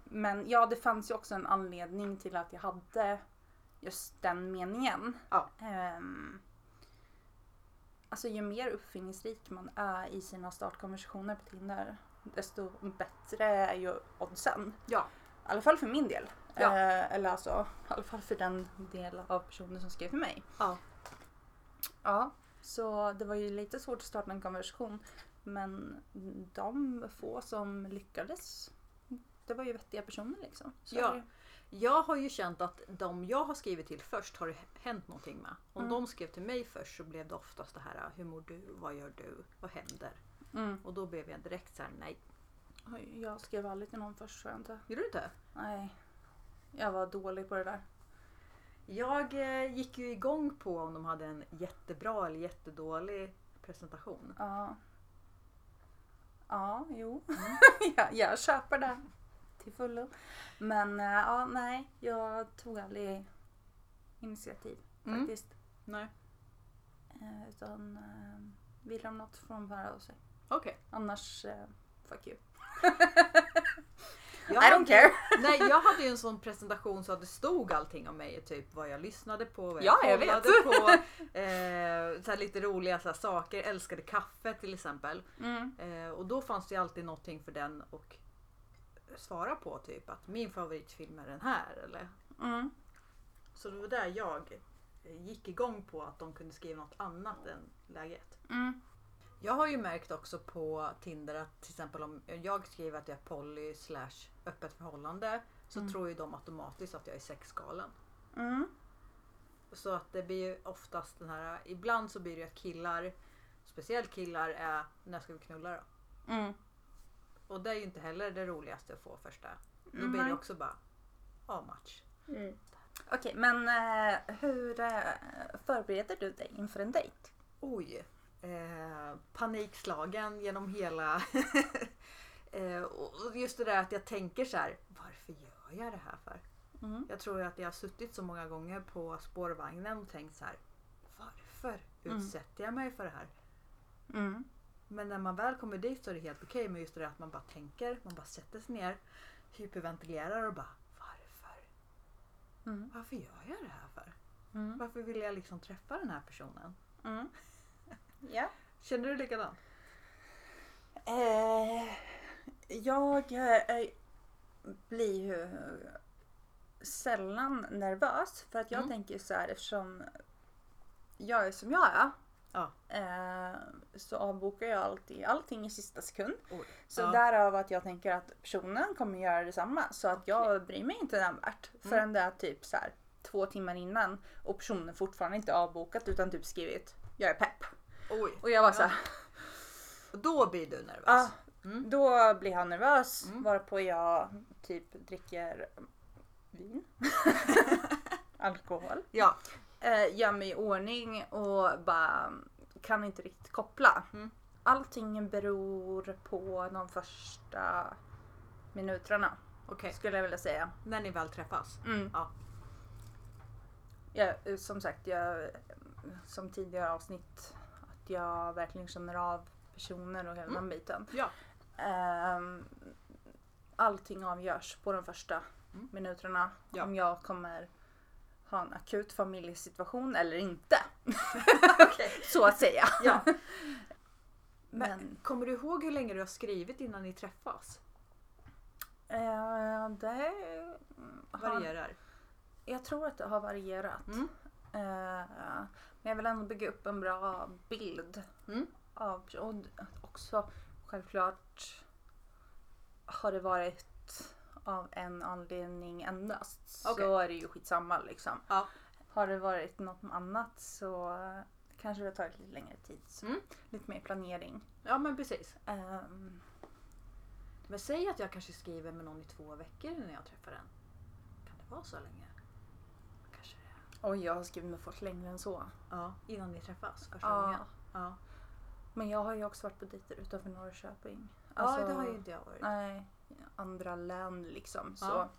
Men ja, det fanns ju också en anledning till att jag hade just den meningen.
Ja.
Ehm, alltså ju mer uppfinningsrik man är i sina startkonversationer på Tinder, desto bättre är ju oddsen.
Ja.
I alla fall för min del.
Ja.
Eh, eller alltså, i alla fall för den del av personer som skrev till mig.
Ja.
Ja, så det var ju lite svårt att starta en konversation. Men de få som lyckades, det var ju vettiga personer liksom. Så
Ja.
är det ju.
Jag har ju känt att de jag har skrivit till först har det hänt någonting med. Om
Mm.
de skrev till mig först så blev det oftast det här hur mår du, vad gör du, vad händer?
Mm.
Och då blev jag direkt så här nej.
Oj, jag skrev aldrig till någon först tror jag inte.
Gjorde du inte?
Nej. Jag var dålig på det där.
Jag eh, gick ju igång på om de hade en jättebra eller jättedålig presentation.
Ja. Ja, jo. jag, jag köper det. Till fullo. Men eh, ja, nej. Jag tog aldrig initiativ
Mm.
faktiskt.
Nej.
Eh, utan eh, vill de något får de höra av sig.
Okej.
Annars, eh, fuck you.
Jag hade-
care.
Nej, jag hade ju en sån presentation så att det stod allting om mig. Typ vad jag lyssnade på, vad
Ja,
jag
jag
kollade
vet.
på. Eh, så här lite roliga så här saker. Älskade kaffe till exempel.
Mm.
Eh, och då fanns det ju alltid någonting för den och svara på. Typ att min favoritfilm är den här. Eller?
Mm.
Så det var där jag gick igång på att de kunde skriva något annat än läget.
Mm.
Jag har ju märkt också på Tinder att till exempel om jag skriver att jag är poly slash öppet förhållande så
Mm.
tror ju de automatiskt att jag är sexgalen.
Mm.
Så att det blir ju oftast den här, ibland så blir det ju att killar, speciellt killar är när ska vi knulla då?
Mm.
Och det är ju inte heller det roligaste att få första. Då
Mm,
blir det
nej. Mm.
också bara avmatch.
Okej, men eh, hur eh, förbereder du dig inför en dejt?
Oj! Eh, panikslagen genom hela... eh, och just det där att jag tänker så här, varför gör jag det här för?
Mm.
Jag tror att jag har suttit så många gånger på spårvagnen och tänkt så här, varför
Mm.
utsätter jag mig för det här?
Mm.
Men när man väl kommer dit så är det helt okej. Men just det där att man bara tänker, man bara sätter sig ner, hyperventilerar och bara varför?
Mm.
Varför gör jag det här för?
Mm.
Varför vill jag liksom träffa den här personen?
Mm. Ja.
Känner du likadant?
Eh, jag eh, blir ju sällan nervös för att jag
Mm.
tänker så här eftersom jag är som jag är.
Ja.
Eh, så avbokar jag alltid allting i sista sekund.
Oj.
Så
Ja.
därav att jag tänker att personen kommer göra detsamma. Så att jag bryr mig inte nämnvärt
Mm.
förrän det är typ så här två timmar innan och personen fortfarande inte avbokat utan typ skrivit jag är pepp.
Oj.
Och jag var så här,
Och då blir du nervös?
Ja,
Mm.
Alltså, då blir han nervös
Mm.
varpå jag typ dricker vin. Alkohol.
Ja.
Eh, gör mig i ordning och bara kan inte riktigt koppla.
Mm.
Allting beror på de första minuterna
Okej.
skulle jag vilja säga.
När ni väl träffas?
Mm.
Ja.
Jag, eh, som sagt, jag, som tidigare avsnitt, att jag verkligen känner av personer och hela
Mm.
den biten.
Ja.
Ehm, allting avgörs på de första
Mm.
minuterna.
Ja.
Om jag kommer ha en akut familjesituation eller inte,
Okej.
så att säga.
Ja.
Men,
Kommer du ihåg hur länge du har skrivit innan ni träffas?
eh, det har,
Varierar?
jag tror att det har varierat.
Mm.
Eh, men jag vill ändå bygga upp en bra bild
Mm.
av och också självklart har det varit av en anledning endast
Okej.
så är det ju skitsamma liksom.
Ja.
Har det varit något annat så kanske det har tagit lite längre tid. Så
Mm.
Lite mer planering.
Ja men precis.
Ehm,
Men säg att jag kanske skriver med någon i två veckor innan jag träffar den. Kan det vara så länge? Kanske det.
och jag har skrivit med folk längre än så.
Ja, innan ni träffas första
Ja.
gången. Ja.
Men jag har ju också varit på dejter utanför Norrköping. Alltså,
ja, det har ju inte jag varit.
Nej, andra län liksom. Så.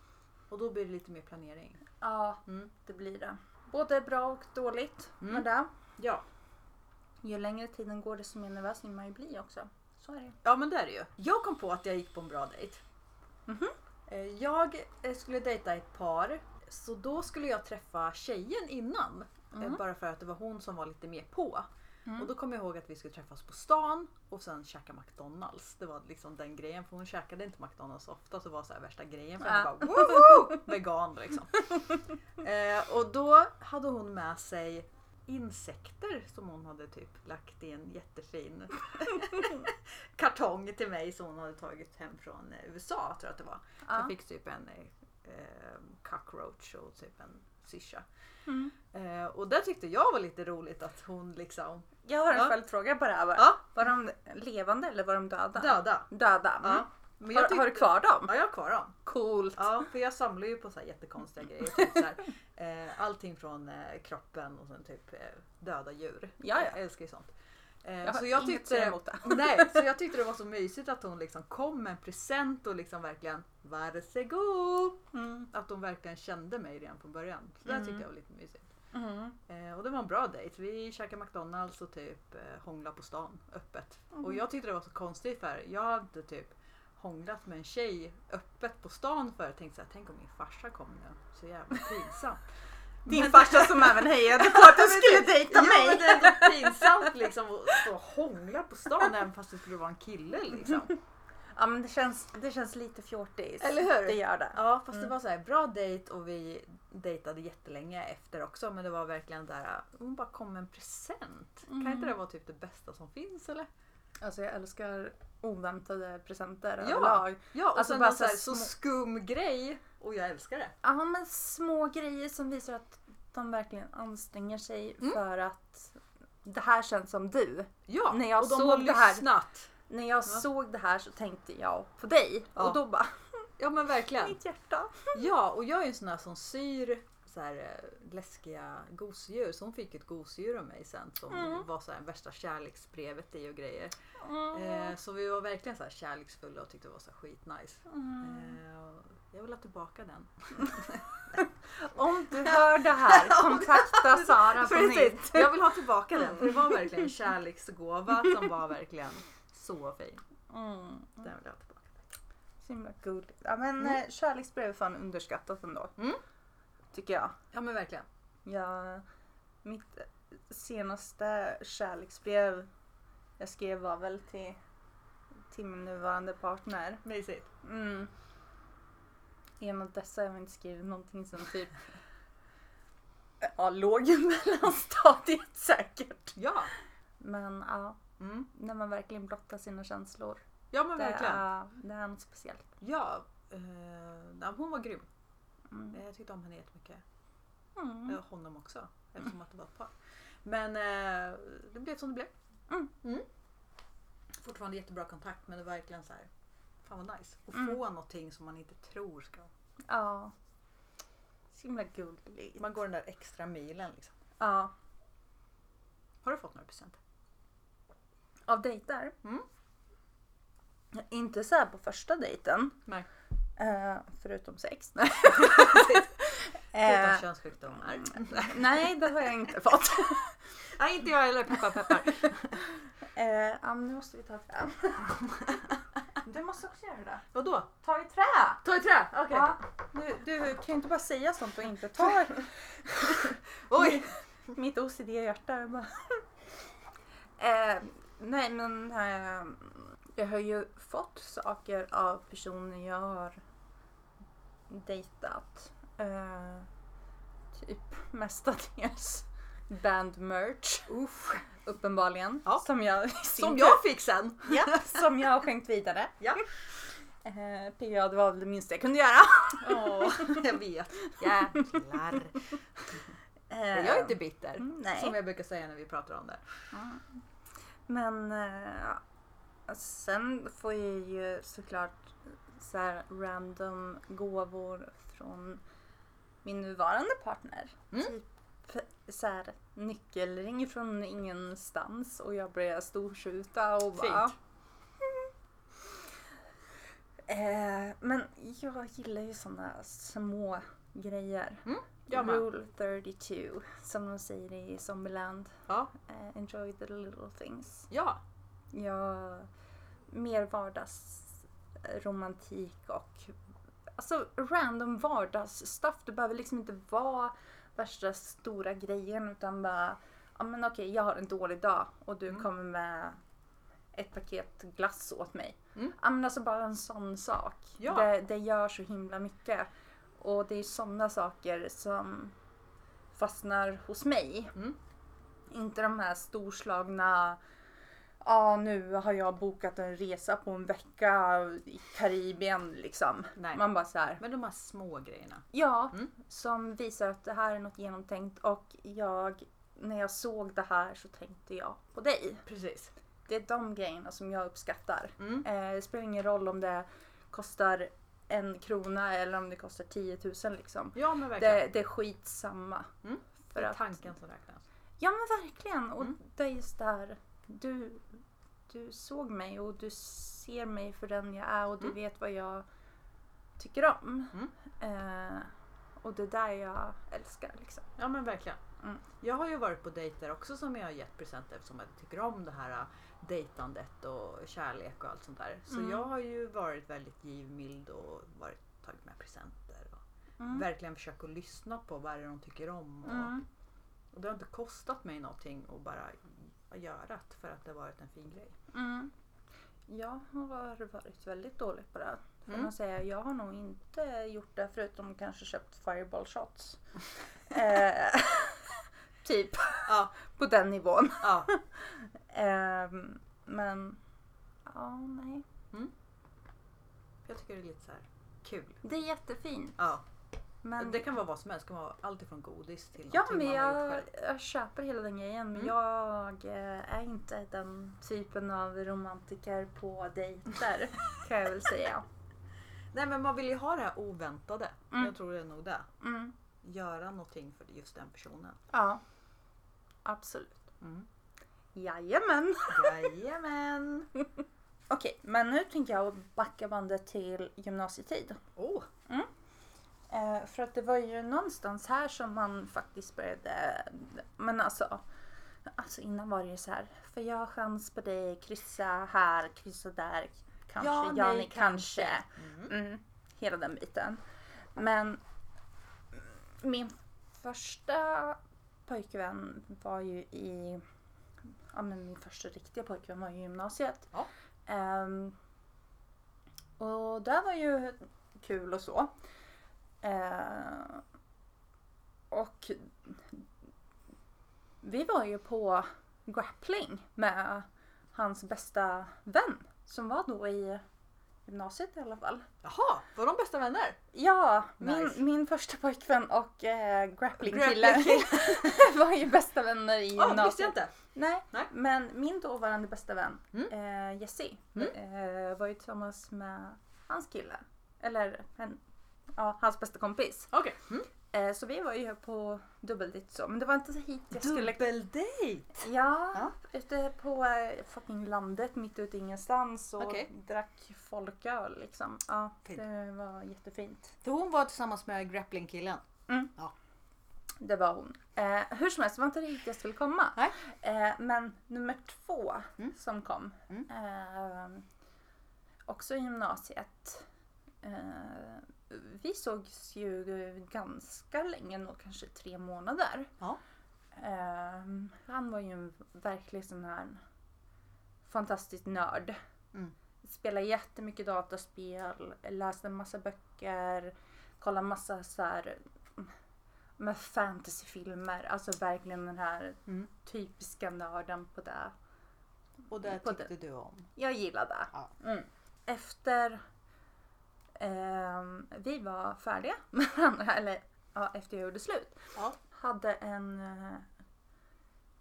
Och då blir det lite mer planering.
Ja,
Mm.
det blir det. Både bra och dåligt
Mm.
med det.
Ja.
Ju längre tiden går desto mer nervös vill man ju bli också. Så är det ju.
ja, men det är det ju. Jag kom på att jag gick på en bra dejt.
Mhm.
Eh, Jag eh, skulle dejta ett par, så då skulle jag träffa tjejen innan. eh,
Mhm.
Bara för att det var hon som var lite mer på.
Mm.
Och då kom jag ihåg att vi skulle träffas på stan och sen käka McDonalds. Det var liksom den grejen, för hon käkade inte McDonalds så ofta så det var så här värsta grejen för henne.
Ja.
Bara, "Woho!" vegan liksom. eh, och då hade hon med sig insekter som hon hade typ lagt i en jättefin kartong till mig som hon hade tagit hem från eh, USA tror jag att det var.
Ja.
Jag fick typ en eh, eh, cockroach och typ en syrsa.
Mm.
Eh, och det tyckte jag var lite roligt att hon liksom
Jag har en
Ja.
följdfråga på det här.
Ja.
Var de levande eller var de döda?
döda.
Döda. Mm.
Ja. Men jag
har,
tyckte-
har du kvar dem?
Ja, jag har kvar dem.
Coolt.
Ja, för jag samlar ju på så här jättekonstiga grejer. Typ så här, eh, allting från eh, kroppen och sen typ eh, döda djur.
Ja, ja.
Jag älskar ju sånt. Eh,
Jag har
så jag
inget att
tyckte,
säga emot det.
Nej, så jag tyckte det var så mysigt att hon liksom kom med en present och liksom verkligen varsågod.
Mm.
Att hon verkligen kände mig redan från början. Så det
Mm.
tyckte jag var lite mysigt.
Mm.
Eh, och det var en bra dejt. Vi käkade McDonalds och typ eh, hånglade på stan öppet. Och jag tyckte det var så konstigt för jag hade typ hånglat med en tjej öppet på stan för jag tänkte såhär, tänk om min farsa kom nu. Så jävla pinsamt.
Din farsa som även hejade på att du skulle dejta
jo, men
mig.
det är ändå pinsamt liksom att stå och hångla på stan även fast det skulle vara en kille liksom.
Ja men det känns, det känns lite fjortis.
Eller hur?
Det gör det.
Ja fast det var så här bra dejt och vi dejtade jättelänge efter också men det var verkligen där hon bara kom med en present. Kan inte det vara typ det bästa som finns eller?
Alltså jag älskar oväntade presenter
Ja.
överlag.
Ja och
Alltså
sen
bara
bara så,
så här
här, så
små-
skum grej och jag älskar det.
Ja men små grejer som visar att de verkligen anstränger sig
Mm.
för att det här känns som du.
Ja
När jag
och de
såg
har
det här-
lyssnat.
När jag såg det här så tänkte jag på dig
Ja.
och då bara
Ja men verkligen.
mitt hjärta.
Ja och jag är ju en sån här som syr så här, eh, läskiga gosedjur. Så hon fick ett gosedjur av mig sen som
Mm.
var så här, värsta kärleksbrevet i och grejer.
Mm.
Eh, så vi var verkligen så här kärleksfulla och tyckte det var så här skitnice. Eh, jag vill ha tillbaka den.
Om du hör det här, kontakta Sara på
Precis.
nytt.
Jag vill ha tillbaka den för det var verkligen en kärleksgåva som var verkligen så fin.
Mm.
Den vill jag ha tillbaka.
Så himla gulligt. Ja men eh, kärleksbrev är fan underskattat ändå.
Mm.
Tycker jag.
Ja men verkligen.
Ja, mitt eh, senaste kärleksbrev jag skrev var väl till, till min nuvarande partner.
Mysigt.
Mm. Genom dessa har jag inte skrivit någonting som typ ja, låg i mellanstadiet säkert.
Ja.
Men ja,
Mm.
när man verkligen blottar sina känslor.
Ja men
Det
verkligen.
är, det är något speciellt.
Ja. Eh, ja, hon var grym. Eh,
Mm.
Jag tyckte om henne jättemycket.
Mm.
Eh, honom också. Eftersom att det var ett par. Men eh, det blev som det blev.
Mm.
Fortfarande jättebra kontakt men det var verkligen så här. Fan vad nice. Att
Mm.
få någonting som man inte tror ska...
Ja. Så himla gulligt.
Man går den där extra milen liksom.
Ja.
Har du fått några presenter?
Av dejter?
Mm.
Inte så här på första dejten.
Nej.
Eh, förutom sex.
Förutom
Eh,
könssjukdomar.
nej, det har jag inte fått.
Nej inte jag heller. Peppar peppar.
Eh, ja, men nu måste vi ta i trä. Du måste också göra det.
Vadå?
Ta i trä!
Ta i trä! Okej.
Ja, du, du kan ju inte bara säga sånt och inte ta i
Oj!
mitt OCD-hjärta. är bara- eh, nej, men eh, jag har ju fått saker av personer jag har dejtat. Eh, typ mestadels band merch,
Uff.
uppenbarligen.
Ja.
Som jag, i sin
Som
tur-
jag fick sen!
ja, som jag har skänkt vidare.
Ja.
Eh, PGA, det var väl det minsta jag kunde göra.
Åh, jag vet. Jävlar.
Eh,
Jag är inte bitter.
mm, nej.
Som jag brukar säga när vi pratar om det.
Men eh, sen får jag ju såklart så här random gåvor från min nuvarande partner.
Mm.
Typ så här nyckelring från ingenstans och jag börjar storskjuta och bara...
Fint.
Mm. Eh, men jag gillar ju sådana små grejer.
Mm. Jag med.
Rule 32 som de säger i Zombieland.
Ja.
Eh, enjoy the little things.
Ja,
Ja, mer vardagsromantik och alltså random vardagsstuff. Det behöver liksom inte vara värsta stora grejen utan bara ja men okej jag har en dålig dag och du
Mm.
kommer med ett paket glass åt mig.
Mm.
Ja men alltså bara en sån sak.
Ja.
Det, det gör så himla mycket. Och det är sådana saker som fastnar hos mig.
Mm.
Inte de här storslagna Ja, nu har jag bokat en resa på en vecka i Karibien liksom.
nej.
Man bara så här.
Men de här små grejerna.
Ja,
Mm.
som visar att det här är något genomtänkt och jag, när jag såg det här så tänkte jag på dig.
Precis.
Det är de grejerna som jag uppskattar.
Mm.
Eh, det spelar ingen roll om det kostar en krona eller om det kostar 10 000 liksom.
Ja men verkligen.
Det, det är skitsamma.
Mm.
För
det är
att,
tanken som räknas.
ja men verkligen. Och
Mm.
det är just det här. Du, du såg mig och du ser mig för den jag är och du
Mm.
vet vad jag tycker om.
Mm.
Eh, och det är där jag älskar liksom.
Ja men verkligen.
Mm.
Jag har ju varit på dejter också som jag har gett presenter eftersom jag tycker om det här äh, dejtandet och kärlek och allt sånt där. Så
Mm.
jag har ju varit väldigt givmild och varit, tagit med presenter. Och
Mm.
Verkligen försökt att lyssna på vad det är de tycker om. Och,
Mm.
och det har inte kostat mig någonting att bara göra det för att det har varit en fin grej.
Mm. Jag har varit väldigt dålig på det. här, Får
Mm.
man säga. Jag har nog inte gjort det förutom kanske köpt fireball shots. eh, typ
Ja,
på den nivån.
ja.
Ehm, men ja, nej.
Jag tycker det är lite så här kul.
Det är jättefint.
Ja.
Men,
Det kan vara vad som helst. Det kan vara allt ifrån godis till
ja,
någonting
men
man har gjort
jag,
själv.
jag köper hela den grejen. Men
Mm.
jag eh, är inte den typen av romantiker på dejter kan jag väl säga.
Nej men man vill ju ha det här oväntade.
Mm.
Jag tror det är nog det.
Mm.
Göra någonting för just den personen.
Ja, absolut.
Mm.
Jajamän!
Jajamän!
Okej, men nu tänker jag backa bandet till gymnasietid.
Oh,
Eh, för att det var ju någonstans här som man faktiskt började... Men alltså, alltså innan var det ju så här. Får jag chans på dig? Kryssa här, kryssa där. Kanske, ja, nej, kanske.
Mm.
Mm, hela den biten. Men min första pojkvän var ju i... Ja, men min första riktiga pojkvän var ju i gymnasiet.
Ja.
Ehm, och det var ju kul och så. Ehm, och vi var ju på grappling med hans bästa vän som var då i gymnasiet i alla fall.
Jaha, var de bästa vänner?
Ja,
Nice.
min, min första pojkvän och eh, grapplingkille
Grappling.
var ju bästa vänner i
Ja, det visste
gymnasiet.
jag inte.
Nej,
Nej.
men min dåvarande bästa vän
Mm.
eh, Jessie
Mm.
eh, var ju tillsammans med hans kille. Eller en, ja, hans bästa kompis.
Okej. Mm.
Eh, så vi var ju på dubbeldejt så. Men det var inte så hit jag skulle...
Dubbeldejt!
Ja,
Ja.
ute på eh, fucking landet mitt ute i ingenstans och
Okej.
drack folköl liksom. Ja,
Fint.
det var jättefint.
För hon var tillsammans med grapplingkillen.
Det var hon. Eh, hur som helst, det var inte riktigt jag skulle komma.
Nej.
Eh, men nummer två
Mm.
som kom.
Mm.
Eh, också i gymnasiet. Eh, vi sågs ju ganska länge, nog kanske tre månader.
Ja.
Eh, han var ju en verklig sån här fantastisk nörd.
Mm.
Spelade jättemycket dataspel, läste en massa böcker, kollade massa så här med fantasyfilmer, alltså verkligen den här
Mm.
typiska nörden på det.
Och det
På
tyckte du om.
Jag gillar det.
Ja.
Mm. Efter ehm, vi var färdiga med varandra, eller ja, efter jag gjorde slut,
Ja.
hade en eh,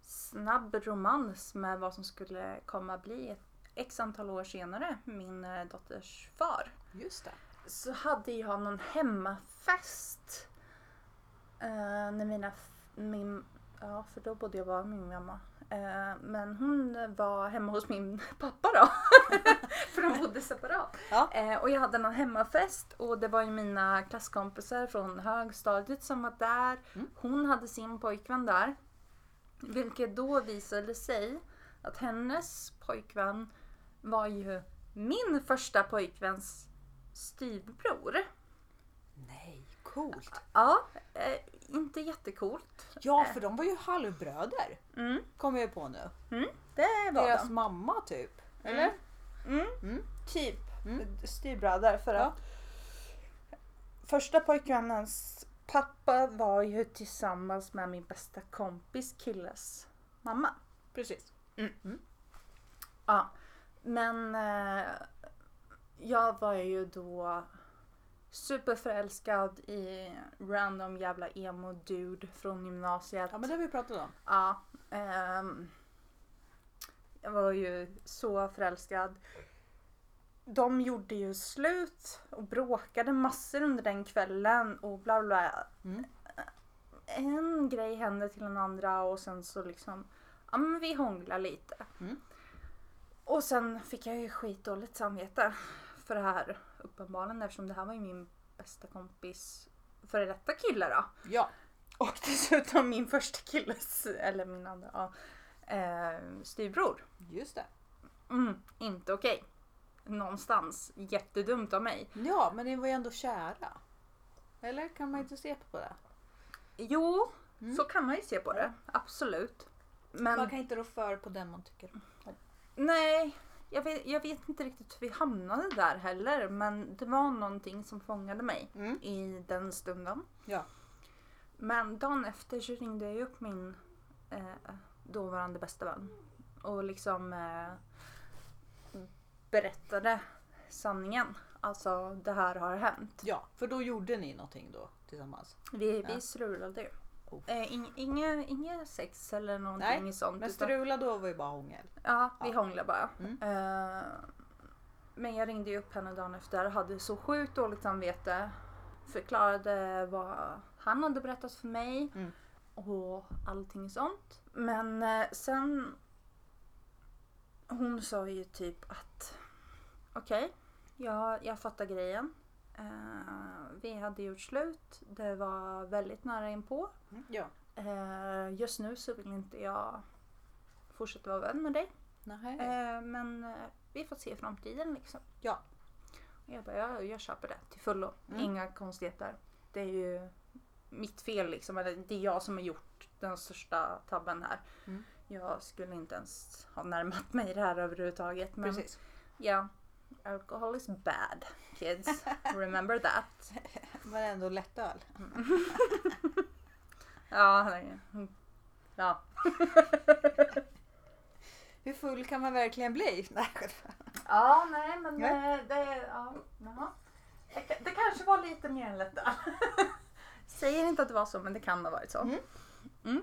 snabb romans med vad som skulle komma bli ett x antal år senare, min eh, dotters far.
Just det.
så hade jag någon hemmafest. Eh, när mina, f- min, ja för då bodde jag bara med min mamma. Eh, men hon var hemma hos min pappa då. För de bodde separat.
Ja.
Eh, och jag hade någon hemmafest och det var ju mina klasskompisar från högstadiet som var där.
Mm.
Hon hade sin pojkvän där. Vilket då visade sig att hennes pojkvän var ju min första pojkväns styvbror.
Nej, coolt.
Ja, eh, inte jättecoolt.
Ja, för de var ju halvbröder.
Mm,
Kommer jag på nu.
det var
Deras
de.
mamma typ.
Eller?
Eller?
Mm.
Mm.
Typ
Mm.
styvbröder. För
Ja.
att första pojkvännens pappa var ju tillsammans med min bästa kompis killes mamma.
Precis.
Ja, men eh, jag var ju då superförälskad i random jävla emo-dude från gymnasiet.
Ja, men det har vi pratat om.
Ja, ehm, jag var ju så förälskad. De gjorde ju slut och bråkade massor under den kvällen och bla bla.
Mm.
En grej hände till den andra och sen så liksom, ja men vi hånglade lite.
Mm.
Och sen fick jag ju skitdåligt samvete för det här uppenbarligen eftersom det här var ju min bästa kompis före detta kille då.
Ja.
Och dessutom min första killes, eller min andra, ja, eh, styvbror.
Just det.
Mm, inte okej. Någonstans. Jättedumt av mig.
Ja, men ni var ju ändå kära. Eller kan man inte se på det?
Jo,
Mm.
så kan man ju se på det. Absolut. Men
Man kan inte rå för på den man tycker om.
nej, jag vet, jag vet inte riktigt hur vi hamnade där heller. Men det var någonting som fångade mig
Mm.
i den stunden.
Ja.
Men dagen efter så ringde jag ju upp min eh, dåvarande bästa vän och liksom eh, berättade sanningen. Alltså det här har hänt.
Ja, för då gjorde ni någonting då tillsammans.
Vi,
Ja.
vi strulade ju.
Oh.
Eh, ing- inget inget sex eller någonting sånt.
Men
utan-
strula då var ju bara hångel.
Ja, vi
Ja.
hånglade bara.
Mm.
Eh, men jag ringde ju upp henne dagen efter och hade så sjukt dåligt samvete. Förklarade vad han hade berättat för mig
Mm.
och allting sånt. Men eh, sen... Hon sa ju typ att okej, jag, jag fattar grejen. Eh, vi hade gjort slut, det var väldigt nära inpå.
Ja.
Eh, just nu så vill inte jag fortsätta vara vän med dig.
Nej.
Eh, men eh, vi får se i framtiden liksom.
Ja.
Och jag bara, jag, jag köper det till fullo.
Mm.
Inga konstigheter. Det är ju mitt fel liksom. Eller det är jag som har gjort den största tabben här.
Mm.
Jag skulle inte ens ha närmat mig det här överhuvudtaget. Men
Precis.
ja, alcohol is bad kids. Remember that.
Men ändå lättöl.
Ja, nej. Mm. ja.
Hur full kan man verkligen bli? Nej,
ja nej men
Ja.
eh, det, ja, jaha. det, ka- det kanske var lite mer än lätt Säger inte att det var så men det kan ha varit så.
Mm.
Mm.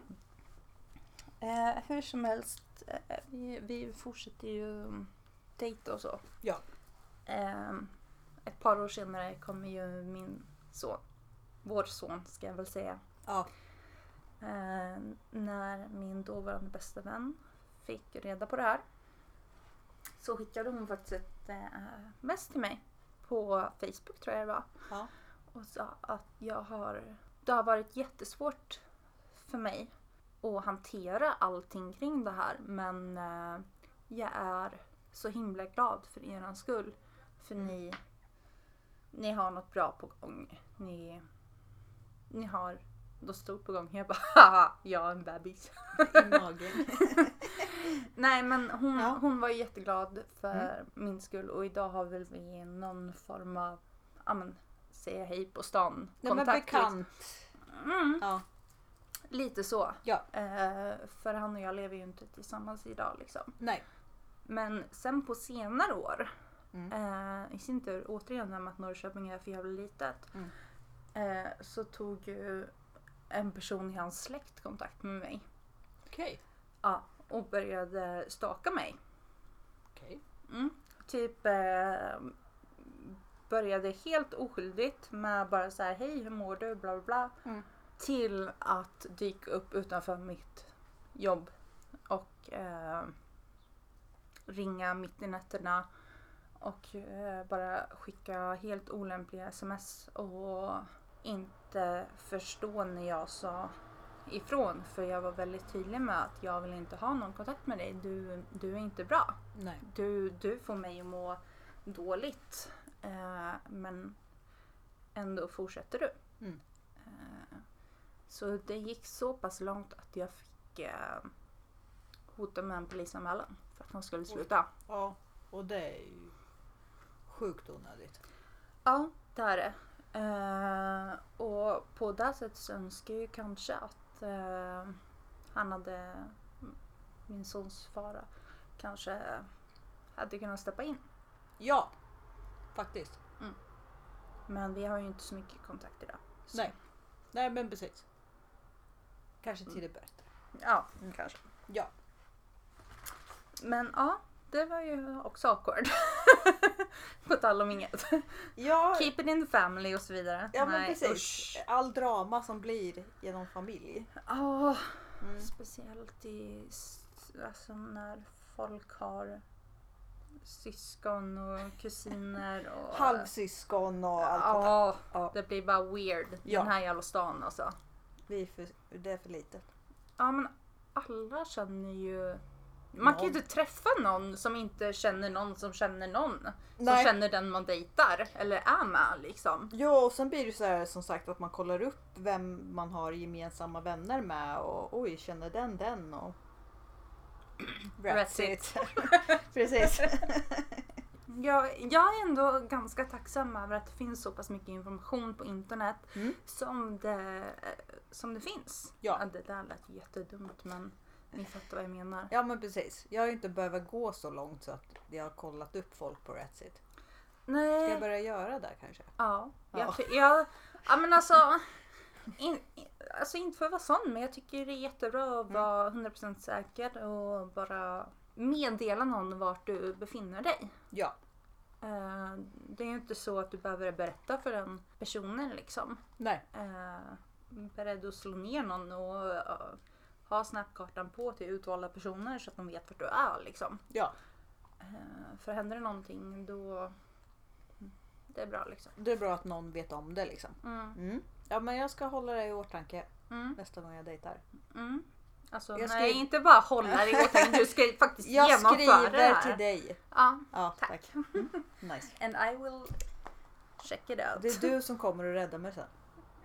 Eh, hur som helst, eh, vi, vi fortsätter ju dejta och så.
Ja.
Eh, ett par år senare kommer ju min son, vår son ska jag väl säga,
Ja.
Eh, när min dåvarande bästa vän fick reda på det här så skickade hon faktiskt ett eh, mess till mig på Facebook tror jag det var
Ja.
och sa att jag har, det har varit jättesvårt för mig att hantera allting kring det här men eh, jag är så himla glad för er skull för ni, ni har något bra på gång. Ni, ni har något stort på gång. Jag bara haha, jag är en bebis.
I magen.
Nej men hon,
Ja. Mm.
hon var ju jätteglad för min skull och idag har väl vi någon form av, ja men säga hej på stan liksom.
Nej, men bekant.
Mm,
Ja.
lite så.
Ja.
Eh, för han och jag lever ju inte tillsammans idag liksom.
Nej.
Men sen på senare år,
Mm.
eh, i sin tur återigen det här med att Norrköping är för jävla litet,
Mm.
eh, så tog ju en person i hans släkt kontakt med mig
Okej.
ja, och började staka mig.
Okej.
Mm. Typ eh, började helt oskyldigt med bara så här hej hur mår du bla bla bla.
Mm.
Till att dyka upp utanför mitt jobb och eh, ringa mitt i nätterna Och eh, bara skicka helt olämpliga sms och inte förstå när jag sa ifrån. För jag var väldigt tydlig med att jag vill inte ha någon kontakt med dig. Du, du är inte bra.
Nej.
Du, du får mig att må dåligt. Eh, men ändå fortsätter du.
Mm.
Eh, så det gick så pass långt att jag fick eh, hota med en polisanmälan för att han skulle sluta.
Ja, och det är ju sjukt onödigt.
Ja, det är det. Eh, och på det sättet så önskar jag ju kanske att eh, han hade, min sons fara, kanske hade kunnat steppa in.
Ja, faktiskt.
Men vi har ju inte så mycket kontakt idag. Så.
Nej. Nej, men precis. Kanske till det bättre.
Ja,
Mm.
kanske.
Ja.
Men ja, det var ju också awkward. på tal om inget.
Ja,
Keep it in the family och så vidare.
ja men
Nej,
precis.
usch.
All drama som blir genom familj.
Ja,
Mm.
Speciellt i, s- alltså när folk har syskon och kusiner och...
Halvsyskon och allt sånt där.
Ja,
Ja,
det blir bara weird.
Ja.
Den här jävla stan alltså.
vi är för, det är för litet.
Ja men alla känner ju... Man kan ju
Någon.
inte träffa någon som inte känner någon som känner någon. Som
Nej.
känner den man dejtar eller är med liksom.
Ja, och sen blir det så här som sagt att man kollar upp vem man har gemensamma vänner med och oj, känner den den och...
That's
precis.
Jag, jag är ändå ganska tacksam över att det finns så pass mycket information på internet
Mm.
som, det, som det finns.
Ja.
det där lät jättedumt men ni fattar vad jag menar.
Ja men precis. Jag har ju inte behövt gå så långt så att jag har kollat upp folk på Ratsit. Ska
Nej,
jag börja göra det kanske?
ja.
Ja.
Jag, ty- jag, ja men alltså, in, in, alltså inte för att vara sån men jag tycker det är jättebra
Mm.
att vara 100% säker och bara meddela någon vart du befinner dig.
Ja.
Eh, Det är ju inte så att du behöver berätta för den personen liksom.
Nej.
eh, beredd att slå ner någon och eh, ha snapkartan på till utvalda personer så att de vet vart du är. Liksom.
Ja.
Eh, för händer det någonting då... Det är bra liksom.
Det är bra att någon vet om det liksom.
Mm,
Mm. Ja men jag ska hålla det i åtanke
mm,
nästa gång jag dejtar.
mm. Alltså,
Jag
nej,
skri-
inte bara hålla det i åtanke, du ska ju faktiskt
Jag
genomföra det
skriver
här.
till dig.
Ja,
Ja,
Tack.
tack. Mm. Nice.
and I will check it out.
Det är du som kommer och räddar mig sen.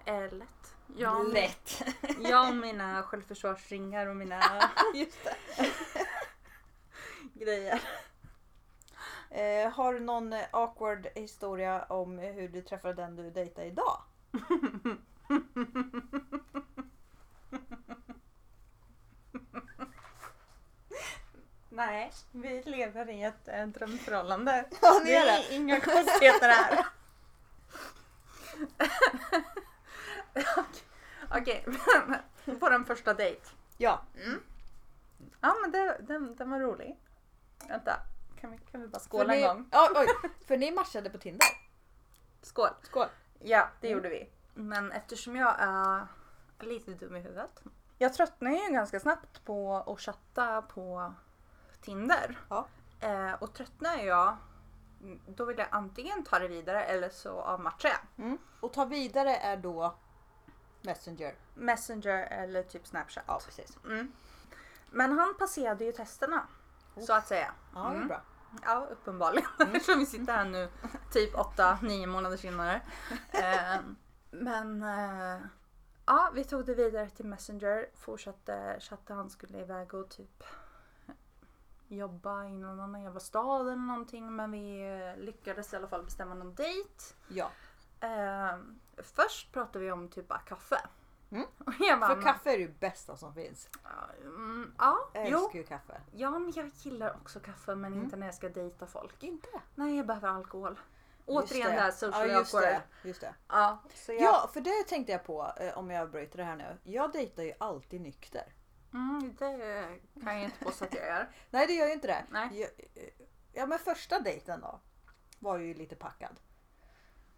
Eh, lätt. Jag, och-
Lätt.
jag och mina självförsvarsringar och mina
Just det.
grejer.
Eh, har du någon eh, awkward historia om hur du träffade den du dejtar idag?
Nej, vi lever i ett eh, drömförhållande.
Ja,
Det är inga konstigheter här. Okej, på den första dejt.
Ja.
Ja men det, den, den var rolig. Vänta, kan vi, kan vi bara skåla
för
en
ni,
gång?
Ja, oj, för ni matchade på Tinder.
Skål!
Skål.
Ja, det
Mm.
gjorde vi. Men eftersom jag är lite dum i huvudet. Jag tröttnar ju ganska snabbt på att chatta på Tinder.
Ja.
Eh, och tröttnar jag, då vill jag antingen ta det vidare eller så avmatchar jag.
Mm. Och ta vidare är då Messenger.
Messenger eller typ Snapchat.
Ja, precis.
Mm. Men han passerade ju testerna. Så att säga.
Ja, det är
Mm.
bra.
Ja, uppenbarligen.
Mm.
Eftersom vi sitter här nu typ 8-9 månader senare. Eh, men eh, ja, vi tog det vidare till Messenger. Fortsatte chatta. Han skulle iväg och typ jobba i någon annan jävla stad eller någonting. Men vi eh, lyckades i alla fall bestämma någon dejt.
Ja.
Eh, först pratade vi om typ bara kaffe.
Mm.
Och jag bara,
För kaffe är det bästa som finns.
Mm, ja,
Jag
jo.
älskar Mm. ju kaffe.
Ja, men jag gillar också kaffe men inte när jag ska dejta folk.
Inte?
Nej, jag behöver alkohol.
Just
Återigen det här social
ja, just
awkward.
det. Just det.
Ja, så jag,
Ja, för det tänkte jag på eh, om jag avbryter det här nu. Jag dejtar ju alltid nykter.
Mm, det kan jag inte påstå att jag gör.
Nej, det gör ju inte det.
Nej.
Jag, eh, ja, men första dejten då var ju lite packad.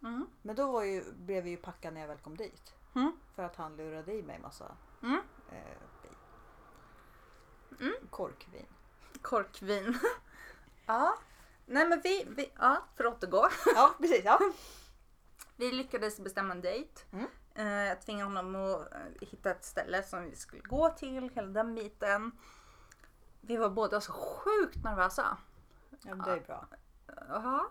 Mm.
Men då var ju, blev vi ju packad när jag väl kom dit.
Mm.
För att han lurade i mig massa
Mm.
eh, vin. Korkvin.
Korkvin. ja. Nej men vi, vi ja, för att återgå.
Ja, precis. Ja.
Vi lyckades bestämma en dejt.
Mm.
Eh, Jag tvingade honom att eh, hitta ett ställe som vi skulle gå till, hela den biten. Vi var båda så sjukt nervösa.
ja men det är bra.
Jaha.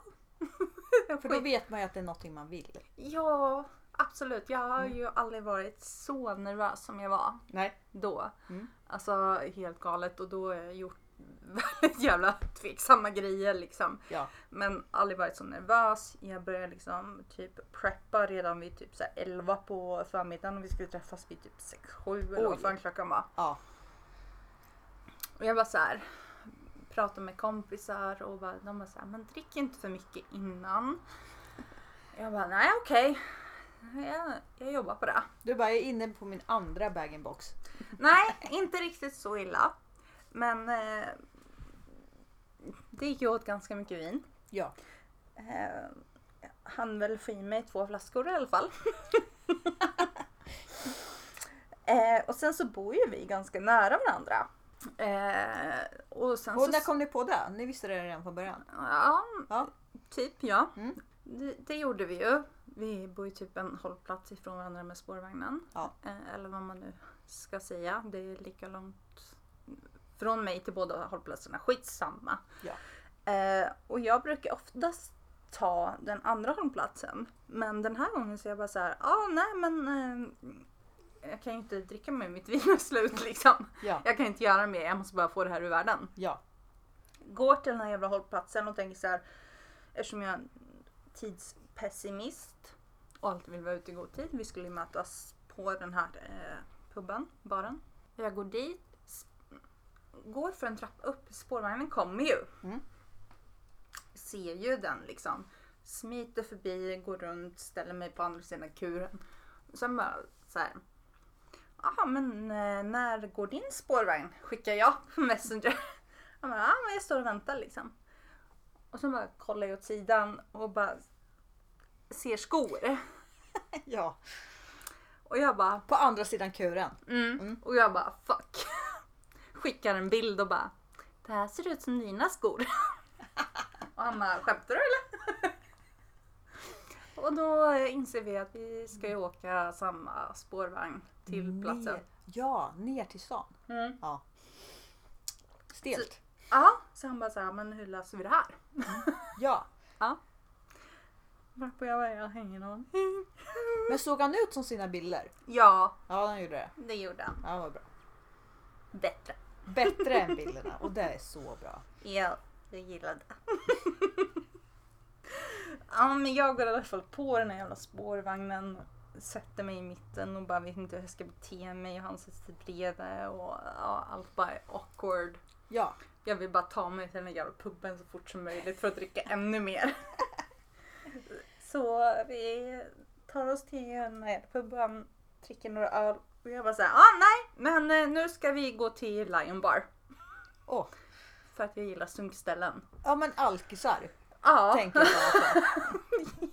För då vet man ju att det är någonting man vill.
Ja, absolut. Jag
Mm.
har ju aldrig varit så nervös som jag var
Nej.
då.
Mm.
Alltså helt galet och då har jag gjort väldigt jävla tveksamma grejer liksom.
Ja.
Men aldrig varit så nervös. Jag började liksom typ preppa redan vid typ så här 11 på förmiddagen och vi skulle träffas vid typ 6-7 eller vad
Oj.
fan klockan var.
Ja.
Och jag bara så här pratade med kompisar och bara, de bara så här, men drick inte för mycket innan. Jag bara, nej okej. Jag, jag jobbar på det.
Du bara, jag är inne på min andra bag-in-box.
Nej, inte riktigt så illa. Men eh, det gick ju åt ganska mycket vin.
Ja.
Eh, han väl få i mig två flaskor i alla fall. eh, och sen så bor ju vi ganska nära varandra. Eh, och sen
Och
så...
när kom ni på det? Ni visste det redan från början?
Ja,
Ja.
typ ja.
Mm.
Det, det gjorde vi ju. Vi bor ju typ en hållplats ifrån varandra med spårvagnen.
Ja.
Eh, eller vad man nu ska säga. Det är lika långt från mig till båda hållplatserna. Skitsamma.
Ja.
Eh, och jag brukar oftast ta den andra hållplatsen. Men den här gången så är jag bara så här, ja ah, nej men eh, jag kan ju inte dricka med mitt vin är slut liksom.
Ja.
Jag kan inte göra mer, jag måste bara få det här ur världen
Ja.
går till den här jävla hållplatsen och tänker så här, eftersom jag är en tidspessimist och alltid vill vara ute i god tid. Vi skulle ju mötas på den här eh, puben, baren. Jag går dit, sp- går för en trappa upp, spårvagnen kommer ju.
Mm.
Ser ju den liksom. Smiter förbi, går runt, ställer mig på andra sidan kuren. Sen bara så här. Jaha, men eh, när går din spårvagn? Skickar jag på Messenger. Han bara, ja men jag står och väntar liksom. Och så bara kollar jag åt sidan och bara ser skor.
ja.
Och jag bara,
På andra sidan kuren.
mm. Och jag bara, fuck. Skickar en bild och bara, det här ser ut som dina skor. och han bara, skämtar du eller? och då eh, inser vi att vi ska ju åka samma spårvagn till platsen.
Ner. Ja, ner till stan.
Mm.
Ja. Stelt.
Ja, så han bara så här, men hur löser vi det här?
Ja.
Varpå jag bara, jag har ingen aning.
Men såg han ut som sina bilder?
Ja,
Ja, han gjorde det.
det gjorde han.
Ja, vad bra.
Bättre.
Bättre än bilderna och det är så bra.
Ja, jag gillade. ja, men jag går i alla fall på den här jävla spårvagnen. Sätter mig i mitten och bara vet inte hur jag ska bete mig. Och han sitter bredvid och ja, allt bara är awkward.
Ja,
Jag vill bara ta mig till den här jävla puben så fort som möjligt för att dricka ännu mer. så vi tar oss till den här puben, dricker några öl och jag bara säger ah nej, men eh, nu ska vi gå till Lion Bar.
Åh.
För att jag gillar sunkställen.
ja men alkisar
Ja,
tänker jag på.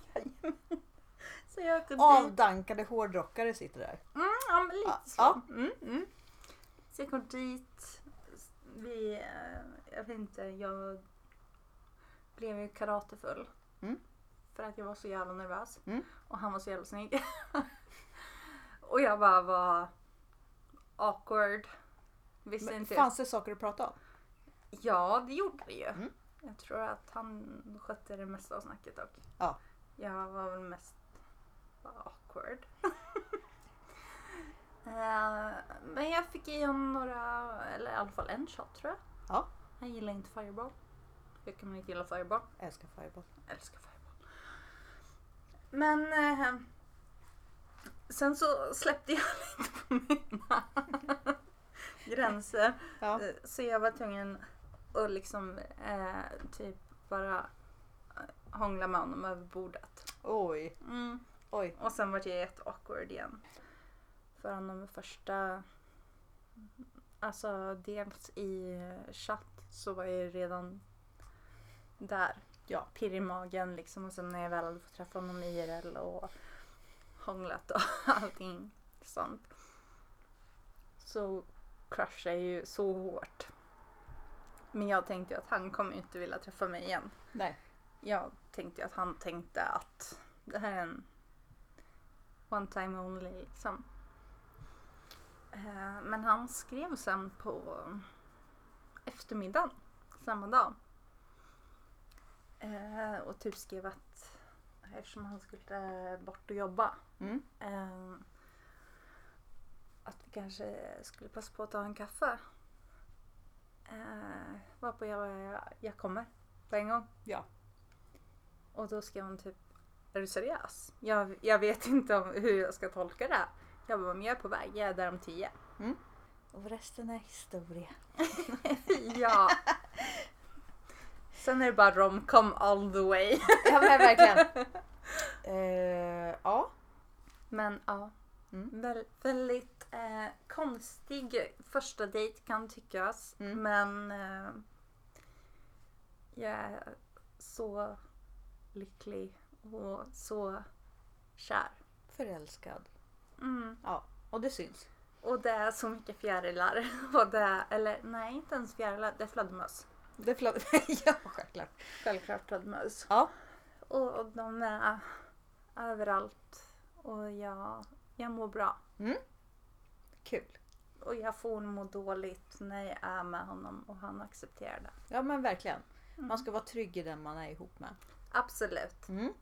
så jag går dit.
Avdankade hårdrockare sitter där.
Mm, ja, men lite
Ja,
så.
ja.
Mm, mm. Så jag går dit. Vi, eh, jag vet inte, jag blev ju karatefull.
Mm.
För att jag var så jävla nervös.
Mm.
Och han var så jävla snygg. och jag bara var awkward. Visste
Men
inte.
fanns det saker att prata om?
Ja, det gjorde det ju.
Mm.
Jag tror att han skötte det mesta av snacket dock.
Ja.
Jag var väl mest bara awkward. Eh, Men jag fick i honom några, eller i alla fall en shot tror jag.
Ja.
Han gillar inte Fireball. Hur kan man inte gilla Fireball?
Älskar Fireball.
Jag älskar Fireball. Men eh, sen så släppte jag lite på mina gränser.
Ja.
Eh, Så jag var tvungen att liksom eh, typ bara eh, hångla med honom över bordet.
Oj, oj.
Och sen var jag jätteawkward igen. För honom första... Alltså dels i chatt så var jag ju redan där.
Ja.
Pirr i magen liksom och sen när jag väl hade fått träffa honom IRL och hånglat och allting sånt. Så crushade jag ju så hårt. Men jag tänkte ju att han kommer ju inte vilja träffa mig igen.
Nej.
Jag tänkte ju att han tänkte att det här är en one time only liksom. Eh, Men han skrev sen på eftermiddagen samma dag. Eh, Och typ skrev att eftersom han skulle bort och jobba
Mm.
eh, att vi kanske skulle passa på att ta en kaffe. Eh, varpå jag bara, "Ja, jag kommer på en gång.
Ja.
Och då skrev hon typ Är du seriös? Jag, jag vet inte om, hur jag ska tolka det. här." Jag bara, men jag är på väg. Jag är där om tio.
Mm. Och resten är historia.
ja. Sen är det bara romcom all the way.
Ja men verkligen. Eh, ja.
Men ja.
Mm.
Väl, väldigt eh, konstig första dejt kan tyckas.
Mm.
Men eh, jag är så lycklig och så kär.
Förälskad.
Mm.
Ja. Och det syns.
Och det är så mycket fjärilar. Och det är, eller nej, inte ens fjärilar. Det är fladdermöss.
Det flödar. ja självklart.
Självklart fladdermöss.
Ja.
Och, och de är överallt. Och jag, jag mår bra.
Kul.
Och jag får må dåligt när jag är med honom och han accepterar det.
Ja men verkligen. Man ska vara trygg i den man är ihop med.
Absolut.
Mm.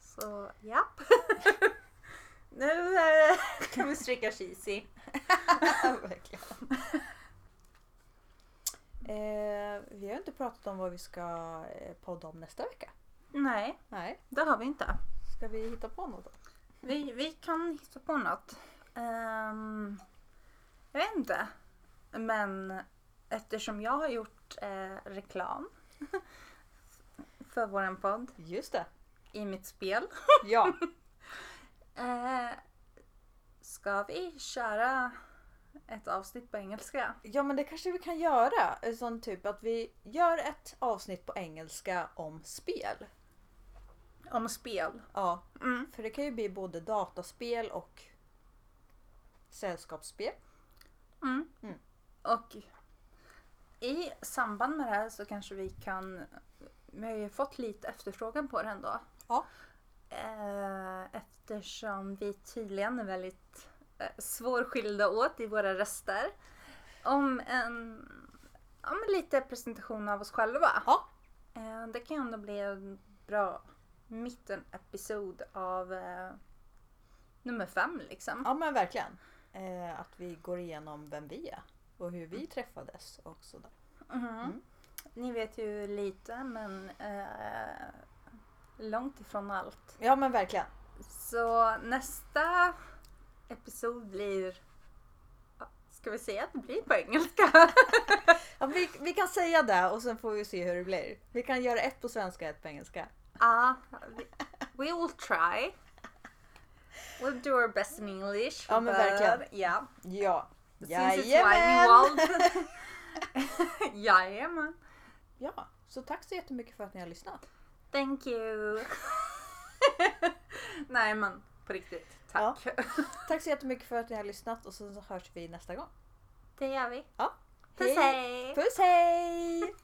Så japp. nu eh, kan vi stryka cheesy.
verkligen. Eh, vi har inte pratat om vad vi ska eh, podda om nästa vecka.
Nej,
Nej.
det har vi inte.
Ska vi hitta på något då?
Vi, vi kan hitta på något. Ehm, jag vet inte. Men eftersom jag har gjort eh, reklam för vår podd
Just det.
i mitt spel.
Ja.
Eh, ska vi köra ett avsnitt på engelska?
ja men det kanske vi kan göra. Eh, Sån typ att vi gör ett avsnitt på engelska om spel.
Om spel.
Ja.
Mm.
För det kan ju bli både dataspel och sällskapsspel.
Mm.
Mm.
Och i samband med det här så kanske vi kan... Vi har ju fått lite efterfrågan på det ändå.
Ja.
Eh, Eftersom vi tydligen är väldigt eh, svårskilda åt i våra röster. Om en... Om lite presentation av oss själva.
Ja.
Eh, Det kan ju ändå bli en bra mittenepisod av eh, nummer fem liksom.
Ja men verkligen. Eh, att vi går igenom vem vi är och hur vi träffades och sådär.
Mhm.
Mm.
Ni vet ju lite men eh, långt ifrån allt.
Ja men verkligen.
Så nästa episod blir... Ska vi säga att det blir på engelska?
Ja, vi, vi kan säga det och sen får vi se hur det blir. Vi kan göra ett på svenska och ett på engelska.
Ja, vi- we will try. We'll do our best in English.
Ja, men
but-
verkligen.
Ja.
Ja.
Since it's wide world. Jajamän.
Ja, så tack så jättemycket för att ni har lyssnat.
Thank you. Nej men på riktigt, tack.
Tack så jättemycket för att ni har lyssnat och sen så hörs vi nästa gång.
Det gör vi.
Ja.
Puss hej!
Puss hej!